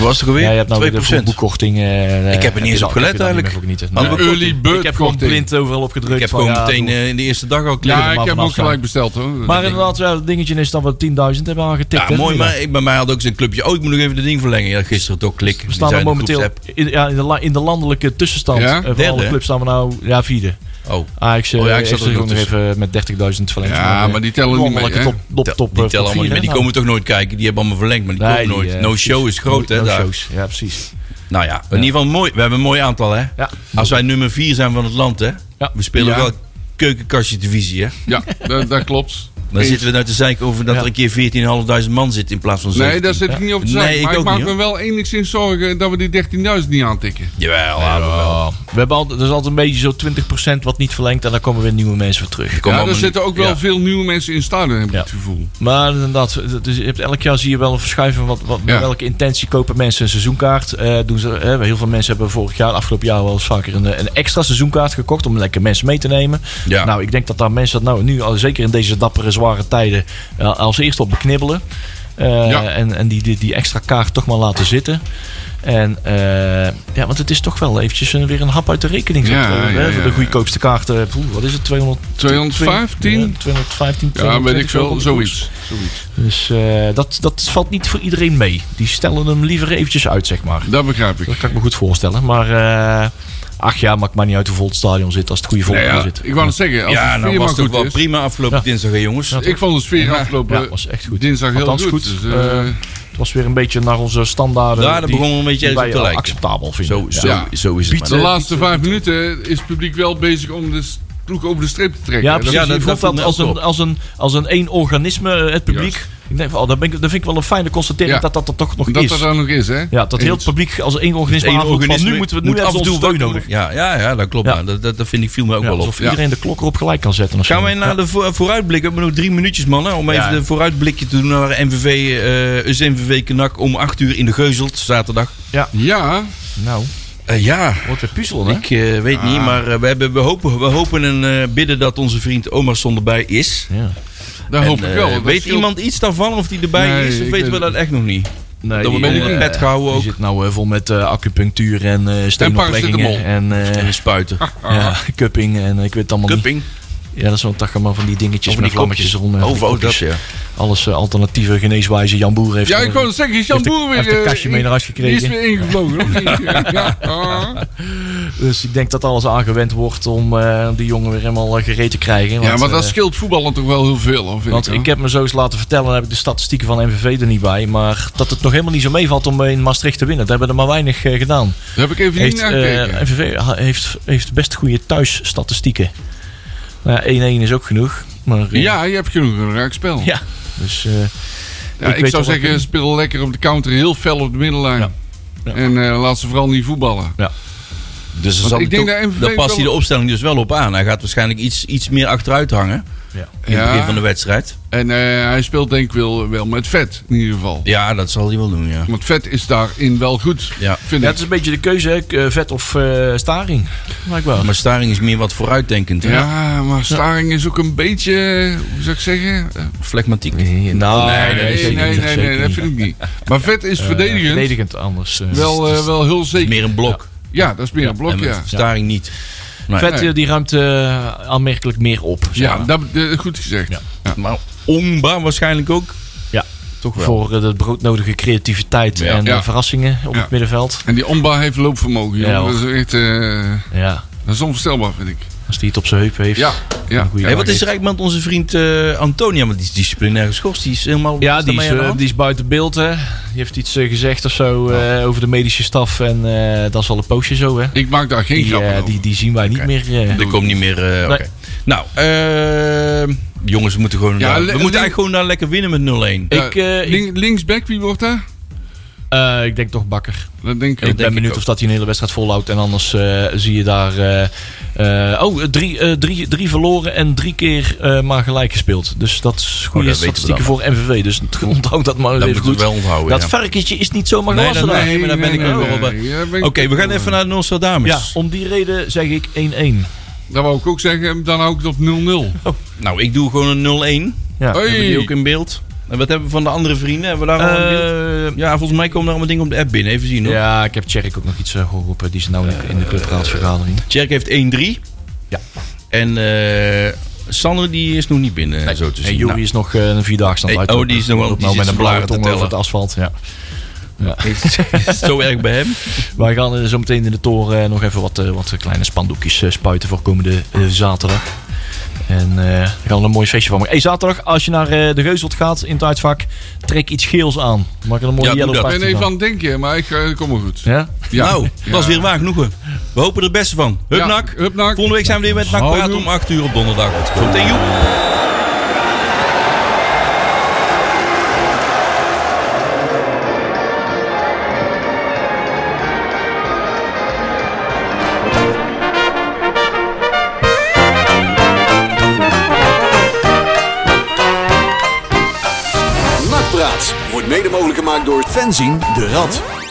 Speaker 2: was er alweer?
Speaker 6: Ja, je hebt nou weer de
Speaker 2: 2%.
Speaker 6: vroegboekkorting. eh,
Speaker 2: Ik heb er niet
Speaker 6: je
Speaker 2: eens
Speaker 6: dan-
Speaker 2: op gelet
Speaker 6: heb je dan niet
Speaker 2: eigenlijk.
Speaker 6: meer voor genieten.
Speaker 2: Maar
Speaker 6: Nee.
Speaker 2: we-
Speaker 4: Early bird
Speaker 6: Ik heb gewoon
Speaker 4: korting.
Speaker 6: blind overal op gedrukt.
Speaker 2: Ik heb
Speaker 6: van,
Speaker 2: gewoon
Speaker 6: ja,
Speaker 2: meteen
Speaker 6: doe.
Speaker 2: eh, in de eerste dag al kleren.
Speaker 4: Ja, ik
Speaker 6: maar
Speaker 4: heb hem ook
Speaker 6: vanaf
Speaker 4: gelijk besteld hoor.
Speaker 6: Maar inderdaad, ja, dat dingetje is dan wel 10.000 hebben we aangetikt.
Speaker 2: Ja,
Speaker 6: hè,
Speaker 2: mooi,
Speaker 6: vanmiddag.
Speaker 2: maar ik- bij mij had ook zo'n clubje. Oh, ik moet nog even de ding verlengen. Ja, gisteren toch klik.
Speaker 6: We staan er momenteel in, ja, in, de la- in de landelijke tussenstand.
Speaker 4: Ja?
Speaker 6: eh, van
Speaker 2: Derde,
Speaker 6: alle
Speaker 2: hè?
Speaker 6: clubs staan we nou ja, vierde.
Speaker 2: Oh,
Speaker 6: Ajax eh,
Speaker 2: Oh ja, ik zat
Speaker 6: heeft
Speaker 2: er
Speaker 6: zich
Speaker 2: nog
Speaker 6: ook nog
Speaker 2: tussen.
Speaker 6: even met 30.000 verlengers. eh,
Speaker 4: Ja, maar die tellen niet mee,
Speaker 6: landelijke
Speaker 4: hè?
Speaker 6: top, top,
Speaker 2: tel-
Speaker 6: top, eh,
Speaker 2: die
Speaker 6: top
Speaker 2: tellen allemaal
Speaker 6: vier,
Speaker 2: niet
Speaker 6: hè,
Speaker 2: mee. Die
Speaker 6: nou.
Speaker 2: komen toch nooit kijken. Die hebben allemaal verlengd, maar die
Speaker 6: Nee,
Speaker 2: komen
Speaker 6: die,
Speaker 2: nooit.
Speaker 6: eh,
Speaker 2: no
Speaker 6: precies.
Speaker 2: show is groot, hè?
Speaker 6: No
Speaker 2: daar.
Speaker 6: shows. Ja, precies.
Speaker 2: Nou ja, in ieder geval mooi. We hebben een mooi aantal, hè?
Speaker 6: Ja.
Speaker 2: Als wij nummer 4 zijn van het land, hè?
Speaker 6: Ja.
Speaker 2: We spelen
Speaker 4: Ja.
Speaker 2: wel keukenkastje divisie, hè?
Speaker 4: Ja, dat, dat klopt.
Speaker 2: Dan zitten we nou te zeiken over dat
Speaker 6: Ja.
Speaker 2: er een keer 14.500 man zit in plaats van 7.
Speaker 4: Nee, daar zit ik niet over te zijn.
Speaker 2: Nee, ik
Speaker 4: maar ik
Speaker 2: ook
Speaker 4: maak
Speaker 2: niet,
Speaker 4: me
Speaker 2: hoor.
Speaker 4: wel enigszins zorgen dat we die 13.000 niet aantikken.
Speaker 2: Jawel, laten we wel.
Speaker 6: We hebben altijd, er is altijd een beetje zo'n 20% wat niet verlengt en dan komen weer nieuwe mensen voor terug.
Speaker 2: Kom
Speaker 4: ja,
Speaker 2: allemaal
Speaker 4: er
Speaker 2: niet.
Speaker 4: zitten ook wel
Speaker 2: Ja.
Speaker 4: veel nieuwe mensen in het stadion, heb ik
Speaker 6: Ja.
Speaker 4: het gevoel.
Speaker 6: Maar inderdaad, dus je hebt, elk jaar zie je wel een verschuiving van wat, wat,
Speaker 4: Ja.
Speaker 6: welke intentie kopen mensen een seizoenkaart. Eh, doen ze, eh, heel veel mensen hebben vorig jaar, afgelopen jaar wel eens vaker een, eh, een extra seizoenkaart gekocht om lekker mensen mee te nemen.
Speaker 2: Ja.
Speaker 6: Nou, ik denk dat daar mensen dat nou nu, al, zeker in deze dappere, zware tijden, eh, als eerste op beknibbelen. Eh,
Speaker 4: Ja.
Speaker 6: En, en die, die, die extra kaart toch maar laten zitten. En eh, ja, want het is toch wel eventjes een- weer een hap uit de rekening.
Speaker 4: Ja,
Speaker 6: Zo, eh,
Speaker 4: ja, ja,
Speaker 6: de
Speaker 4: ja.
Speaker 6: goedkoopste kaart, eh, poeh, wat is het? 200,
Speaker 4: 215?
Speaker 6: Ja, 215,
Speaker 4: Ja, weet ik
Speaker 6: 220,
Speaker 4: veel, zoiets. zoiets.
Speaker 6: dus eh, dat, dat valt niet voor iedereen mee. Die stellen hem liever eventjes uit, zeg maar.
Speaker 4: Dat begrijp ik.
Speaker 6: Dat kan ik me goed voorstellen. Maar eh ach ja, maakt maar niet uit hoe vol het stadion zit als het goede volk
Speaker 4: Nou ja,
Speaker 6: zit.
Speaker 4: ik wou het zeggen, als
Speaker 2: Ja,
Speaker 4: de
Speaker 2: nou
Speaker 4: sfeer
Speaker 2: was
Speaker 4: maar
Speaker 2: het ook
Speaker 4: goed
Speaker 2: wel
Speaker 4: is.
Speaker 2: prima afgelopen
Speaker 6: Ja.
Speaker 2: dinsdag, hè, jongens.
Speaker 4: Ik vond de sfeer afgelopen
Speaker 6: ja, was echt goed.
Speaker 4: dinsdag heel
Speaker 6: Althans,
Speaker 4: goed.
Speaker 6: goed.
Speaker 4: Dus, eh,
Speaker 6: Het was weer een beetje naar onze standaarden.
Speaker 2: Ja, dat
Speaker 6: die-
Speaker 2: begon we een beetje
Speaker 6: die
Speaker 2: ergens
Speaker 6: wij
Speaker 2: op te
Speaker 6: wel
Speaker 2: lijken.
Speaker 6: acceptabel vinden.
Speaker 2: Zo,
Speaker 6: Ja.
Speaker 2: zo,
Speaker 4: Ja.
Speaker 2: zo is het
Speaker 4: de
Speaker 2: maar.
Speaker 4: laatste vijf minuten is het publiek wel bezig om de s- ploeg over de streep te trekken.
Speaker 6: Ja,
Speaker 4: hè. Dat
Speaker 6: precies.
Speaker 2: Ja, dat-
Speaker 6: je voelt
Speaker 2: dat
Speaker 6: dat
Speaker 2: voelt
Speaker 6: als
Speaker 2: me ook
Speaker 6: een, als, een, als een één organisme, eh, het publiek.
Speaker 4: Juist.
Speaker 6: Ik denk, van, oh, dat, ben ik, dat vind ik wel een fijne constatering
Speaker 4: Ja.
Speaker 6: dat dat er toch nog
Speaker 4: dat
Speaker 6: is.
Speaker 4: dat dan nog is, hè?
Speaker 6: ja, dat heel het publiek als één organisme
Speaker 2: Eén
Speaker 6: aanvoelt van,
Speaker 2: organisme
Speaker 6: nu moeten we nu
Speaker 2: moet
Speaker 6: hebben
Speaker 2: af en
Speaker 6: ze
Speaker 2: toe
Speaker 6: ons steun
Speaker 2: wakker
Speaker 6: nodig.
Speaker 2: worden. Ja, ja, ja, dat klopt.
Speaker 6: Ja.
Speaker 2: Nou, Dat, dat, dat vind ik viel me ook
Speaker 6: Ja,
Speaker 2: wel op.
Speaker 6: alsof
Speaker 4: Ja.
Speaker 6: iedereen de klok erop gelijk kan zetten. of zo.
Speaker 2: Gaan wij naar
Speaker 6: Ja.
Speaker 2: de voor- vooruitblik? We hebben nog drie minuutjes, mannen. Om even
Speaker 6: Ja.
Speaker 2: de vooruitblikje te doen naar MVV, eh USMVV Knak om 8 uur in de Geuzelt, zaterdag.
Speaker 4: Ja,
Speaker 6: Nou,
Speaker 2: Eh, ja,
Speaker 6: wordt weer puzzelen, hè?
Speaker 2: ik eh, weet niet, maar eh, we, hebben, we, hopen, we hopen en eh, bidden dat onze vriend Omerson erbij is.
Speaker 6: Ja.
Speaker 4: daar
Speaker 2: En,
Speaker 4: hoop ik
Speaker 2: eh,
Speaker 4: wel. Dat
Speaker 2: weet
Speaker 4: scheelt-
Speaker 2: iemand iets daarvan of die erbij
Speaker 4: Nee,
Speaker 2: is? Of
Speaker 4: ik
Speaker 2: weten we
Speaker 4: weet
Speaker 2: dat echt nog niet?
Speaker 6: Nee,
Speaker 2: Dat wordt
Speaker 6: die,
Speaker 2: onder
Speaker 6: eh,
Speaker 2: de pet gehouden
Speaker 6: die
Speaker 2: ook.
Speaker 6: zit nou eh, vol met eh, acupunctuur en eh
Speaker 4: paracetamol.
Speaker 6: steenopleggingen en, eh,
Speaker 2: En spuiten.
Speaker 6: ja, cupping en eh, ik weet het allemaal
Speaker 2: Cupping.
Speaker 6: niet. Ja, dat is zo'n dag maar van die dingetjes
Speaker 2: Of
Speaker 6: met
Speaker 2: die kopjes.
Speaker 6: vlammetjes eronder.
Speaker 2: Oh,
Speaker 6: die
Speaker 2: oh,
Speaker 6: kopjes.
Speaker 2: dat ja.
Speaker 6: Alles eh, alternatieve geneeswijze. Jan Boer heeft...
Speaker 4: Ja,
Speaker 6: er-
Speaker 4: ik wou het zeggen, is Jan
Speaker 6: heeft de-
Speaker 4: Boer weer...
Speaker 6: heeft de
Speaker 4: eh,
Speaker 6: kastje mee
Speaker 4: in-
Speaker 6: naar huis
Speaker 4: Die is
Speaker 6: gekregen.
Speaker 4: weer ingevlogen. of niet? ja. ah.
Speaker 6: Dus ik denk dat alles aangewend wordt om eh, die jongen weer helemaal eh, gereed te krijgen.
Speaker 4: ja, maar
Speaker 6: eh,
Speaker 4: dat scheelt voetballen toch wel heel veel, hoor, vind
Speaker 6: Want
Speaker 4: ik.
Speaker 6: ik heb me zo eens laten vertellen, dan heb ik de statistieken van MVV er niet bij. Maar dat het nog helemaal niet zo meevalt om eh, in Maastricht te winnen. Dat hebben er maar weinig eh, gedaan.
Speaker 4: Dat heb ik even niet
Speaker 6: heeft,
Speaker 4: naar
Speaker 6: eh,
Speaker 4: gekeken.
Speaker 6: MVV ha- heeft, heeft best goede thuisstatistieken. Nou, ja, 1-1 is ook genoeg. Maar, eh,
Speaker 4: ja, je hebt genoeg een raakspel.
Speaker 6: ja. Dus, eh,
Speaker 4: Ja,
Speaker 6: ik
Speaker 4: ik,
Speaker 6: weet
Speaker 4: zou
Speaker 6: al wat
Speaker 4: zeggen,
Speaker 6: ik-
Speaker 4: speel lekker op de counter heel fel op de middenlijn.
Speaker 6: Ja. Ja.
Speaker 4: En eh, laat ze vooral niet voetballen.
Speaker 6: Ja.
Speaker 2: Dus er
Speaker 4: Want ik
Speaker 2: zal het
Speaker 4: denk
Speaker 2: ook-
Speaker 4: dat MVV
Speaker 2: daar past
Speaker 4: wel-
Speaker 2: hij de opstelling dus wel op aan. Hij gaat waarschijnlijk iets, iets meer achteruit hangen. In het
Speaker 4: Ja.
Speaker 2: begin van de wedstrijd.
Speaker 4: En eh, hij speelt denk ik wel, wel met vet, in ieder geval.
Speaker 2: Ja, dat zal hij wel doen, ja.
Speaker 4: Want vet is daarin wel goed,
Speaker 2: Ja.
Speaker 4: vind
Speaker 6: Ja,
Speaker 4: ik.
Speaker 6: het is een beetje de keuze, hè. K- eh, vet of eh, staring. Blijkbaar.
Speaker 2: Maar Staring is meer wat vooruitdenkend. hè?
Speaker 4: Ja, maar Staring is ook een beetje, hoe zou ik zeggen? Eh,
Speaker 2: Flegmatiek.
Speaker 6: Nou,
Speaker 2: nee,
Speaker 6: dat
Speaker 4: Nee, nee,
Speaker 6: is zeker
Speaker 4: nee,
Speaker 6: niet,
Speaker 4: nee,
Speaker 6: zeker
Speaker 4: dat
Speaker 6: niet. Eh,
Speaker 4: vind ik niet. Maar vet is verdedigend,
Speaker 6: verdedigend anders. eh.
Speaker 4: wel, eh, wel heel zeker.
Speaker 2: Meer een blok.
Speaker 4: Ja, dat is meer een blok,
Speaker 2: En met
Speaker 4: ja.
Speaker 2: Staring niet. Nee.
Speaker 6: vet eh, die ruimt eh, aanmerkelijk meer op. zeg
Speaker 4: Ja,
Speaker 6: maar.
Speaker 4: dat, eh, goed gezegd. Ja.
Speaker 2: Maar Ongba waarschijnlijk ook.
Speaker 6: Ja.
Speaker 2: Toch wel.
Speaker 6: Voor eh, de broodnodige creativiteit
Speaker 2: Ja.
Speaker 6: en eh,
Speaker 4: Ja.
Speaker 6: verrassingen op
Speaker 4: Ja.
Speaker 6: het middenveld.
Speaker 4: En die Omba heeft loopvermogen, joh.
Speaker 6: Ja, hoor.
Speaker 4: dat is echt, eh,
Speaker 6: Ja,
Speaker 4: dat is onvoorstelbaar, vind ik.
Speaker 6: als die het op zijn heup heeft.
Speaker 4: Ja, ja.
Speaker 6: Goeie
Speaker 2: Hey, wat
Speaker 6: dag
Speaker 2: is er eigenlijk met onze vriend eh Antonia? Want die is disciplinair geschorst. Die is helemaal...
Speaker 6: Ja,
Speaker 2: is
Speaker 6: die
Speaker 2: daarmee
Speaker 6: is,
Speaker 2: aan de
Speaker 6: eh,
Speaker 2: hand?
Speaker 6: die is buiten beeld. Hè. Die heeft iets eh, gezegd of zo eh,
Speaker 2: Oh.
Speaker 6: over de medische staf. En eh, dat is al een poosje zo. Hè.
Speaker 4: Ik maak daar geen
Speaker 6: Die,
Speaker 4: grappen
Speaker 6: eh,
Speaker 4: over.
Speaker 6: die, die zien wij
Speaker 2: Oké.
Speaker 6: niet meer. eh.
Speaker 2: Er komt niet meer. eh, Oké. Nou, eh, jongens, we moeten
Speaker 4: Ja,
Speaker 2: gewoon. daar- we
Speaker 4: le-
Speaker 2: moeten
Speaker 4: le-
Speaker 2: eigenlijk gewoon daar lekker winnen met 0-1.
Speaker 4: Ja,
Speaker 6: ik, eh, ik-
Speaker 4: link- linksback, wie wordt daar?
Speaker 6: Eh, ik denk toch Bakker.
Speaker 4: Dat denk ik
Speaker 6: ik ben
Speaker 4: ook.
Speaker 6: benieuwd of dat hij een hele wedstrijd volhoudt. En anders eh, zie je daar... eh, eh, oh, eh, drie, eh, drie, drie verloren en drie keer eh, maar gelijk gespeeld. Dus dat is goede
Speaker 2: Oh, weten we dan.
Speaker 6: statistieken voor MVV. Dus onthoud dat maar eens
Speaker 2: Dat
Speaker 6: even
Speaker 2: moeten
Speaker 6: goed.
Speaker 2: we wel onthouden.
Speaker 6: dat
Speaker 2: ja.
Speaker 6: varkentje is niet zomaar
Speaker 2: Nee,
Speaker 6: gewassen
Speaker 2: dat-
Speaker 6: daar.
Speaker 2: nee, maar daar ben ik ook wel bij.
Speaker 4: ja, daar ben ik
Speaker 2: Oké, we
Speaker 4: ook
Speaker 2: gaan
Speaker 4: wel
Speaker 2: even
Speaker 4: bij.
Speaker 2: naar Nostradamus.
Speaker 6: Ja, om die reden zeg ik 1-1.
Speaker 4: Dat wou ik ook zeggen, dan hou ik het op 0-0.
Speaker 2: Nou, ik doe gewoon een 0-1.
Speaker 6: Ja.
Speaker 4: Hoi.
Speaker 2: Hebben die ook in beeld? En wat hebben we van de andere vrienden? Hebben we daar al een beeld?
Speaker 6: Eh,
Speaker 2: Ja, volgens mij komen er allemaal dingen op de app binnen. Even zien hoor.
Speaker 6: Ja, ik heb Tjerk ook nog iets eh, geroepen. Die is nou in de- in de clubraadsvergadering.
Speaker 2: Tjerk heeft 1-3.
Speaker 6: Ja.
Speaker 2: En eh Sanne die is nog niet binnen, zo te zien.
Speaker 6: En Jury
Speaker 2: Nou,
Speaker 6: is nog eh, een vierdaagse aan
Speaker 2: Hey,
Speaker 6: het uitlopen.
Speaker 2: oh, die is nog wel-
Speaker 6: Loopt
Speaker 2: die
Speaker 6: nou
Speaker 2: zit
Speaker 6: met een
Speaker 2: zijn blaren te
Speaker 6: blauwe tong over
Speaker 2: tellen.
Speaker 6: het asfalt. Ja.
Speaker 2: is het zo erg bij hem?
Speaker 6: Wij gaan eh, zo meteen in de toren eh, nog even wat, eh, wat kleine spandoekjes eh, spuiten voor komende eh, zaterdag. En eh daar gaan we een mooi feestje van maken. Hey, zaterdag, als je naar eh, de Geuzelt gaat in het uitvak, trek iets geels aan. Maak er een mooie
Speaker 2: Ja, doe
Speaker 6: yellow
Speaker 2: dat.
Speaker 4: Ik
Speaker 6: party
Speaker 4: ben even
Speaker 6: van.
Speaker 4: aan het denken, maar ik eh, kom wel goed.
Speaker 6: Ja?
Speaker 4: Ja.
Speaker 2: Nou, dat is weer waar genoegen. We hopen er het beste van. Hup,
Speaker 4: Ja,
Speaker 2: nak.
Speaker 4: hup, nak.
Speaker 2: Volgende week zijn we weer met NAC
Speaker 4: Houdoe.
Speaker 2: Praat om 8 uur op donderdag. Goed, tegen Joep.
Speaker 1: Nakpraat wordt mede mogelijk gemaakt door Fenzin de Rad.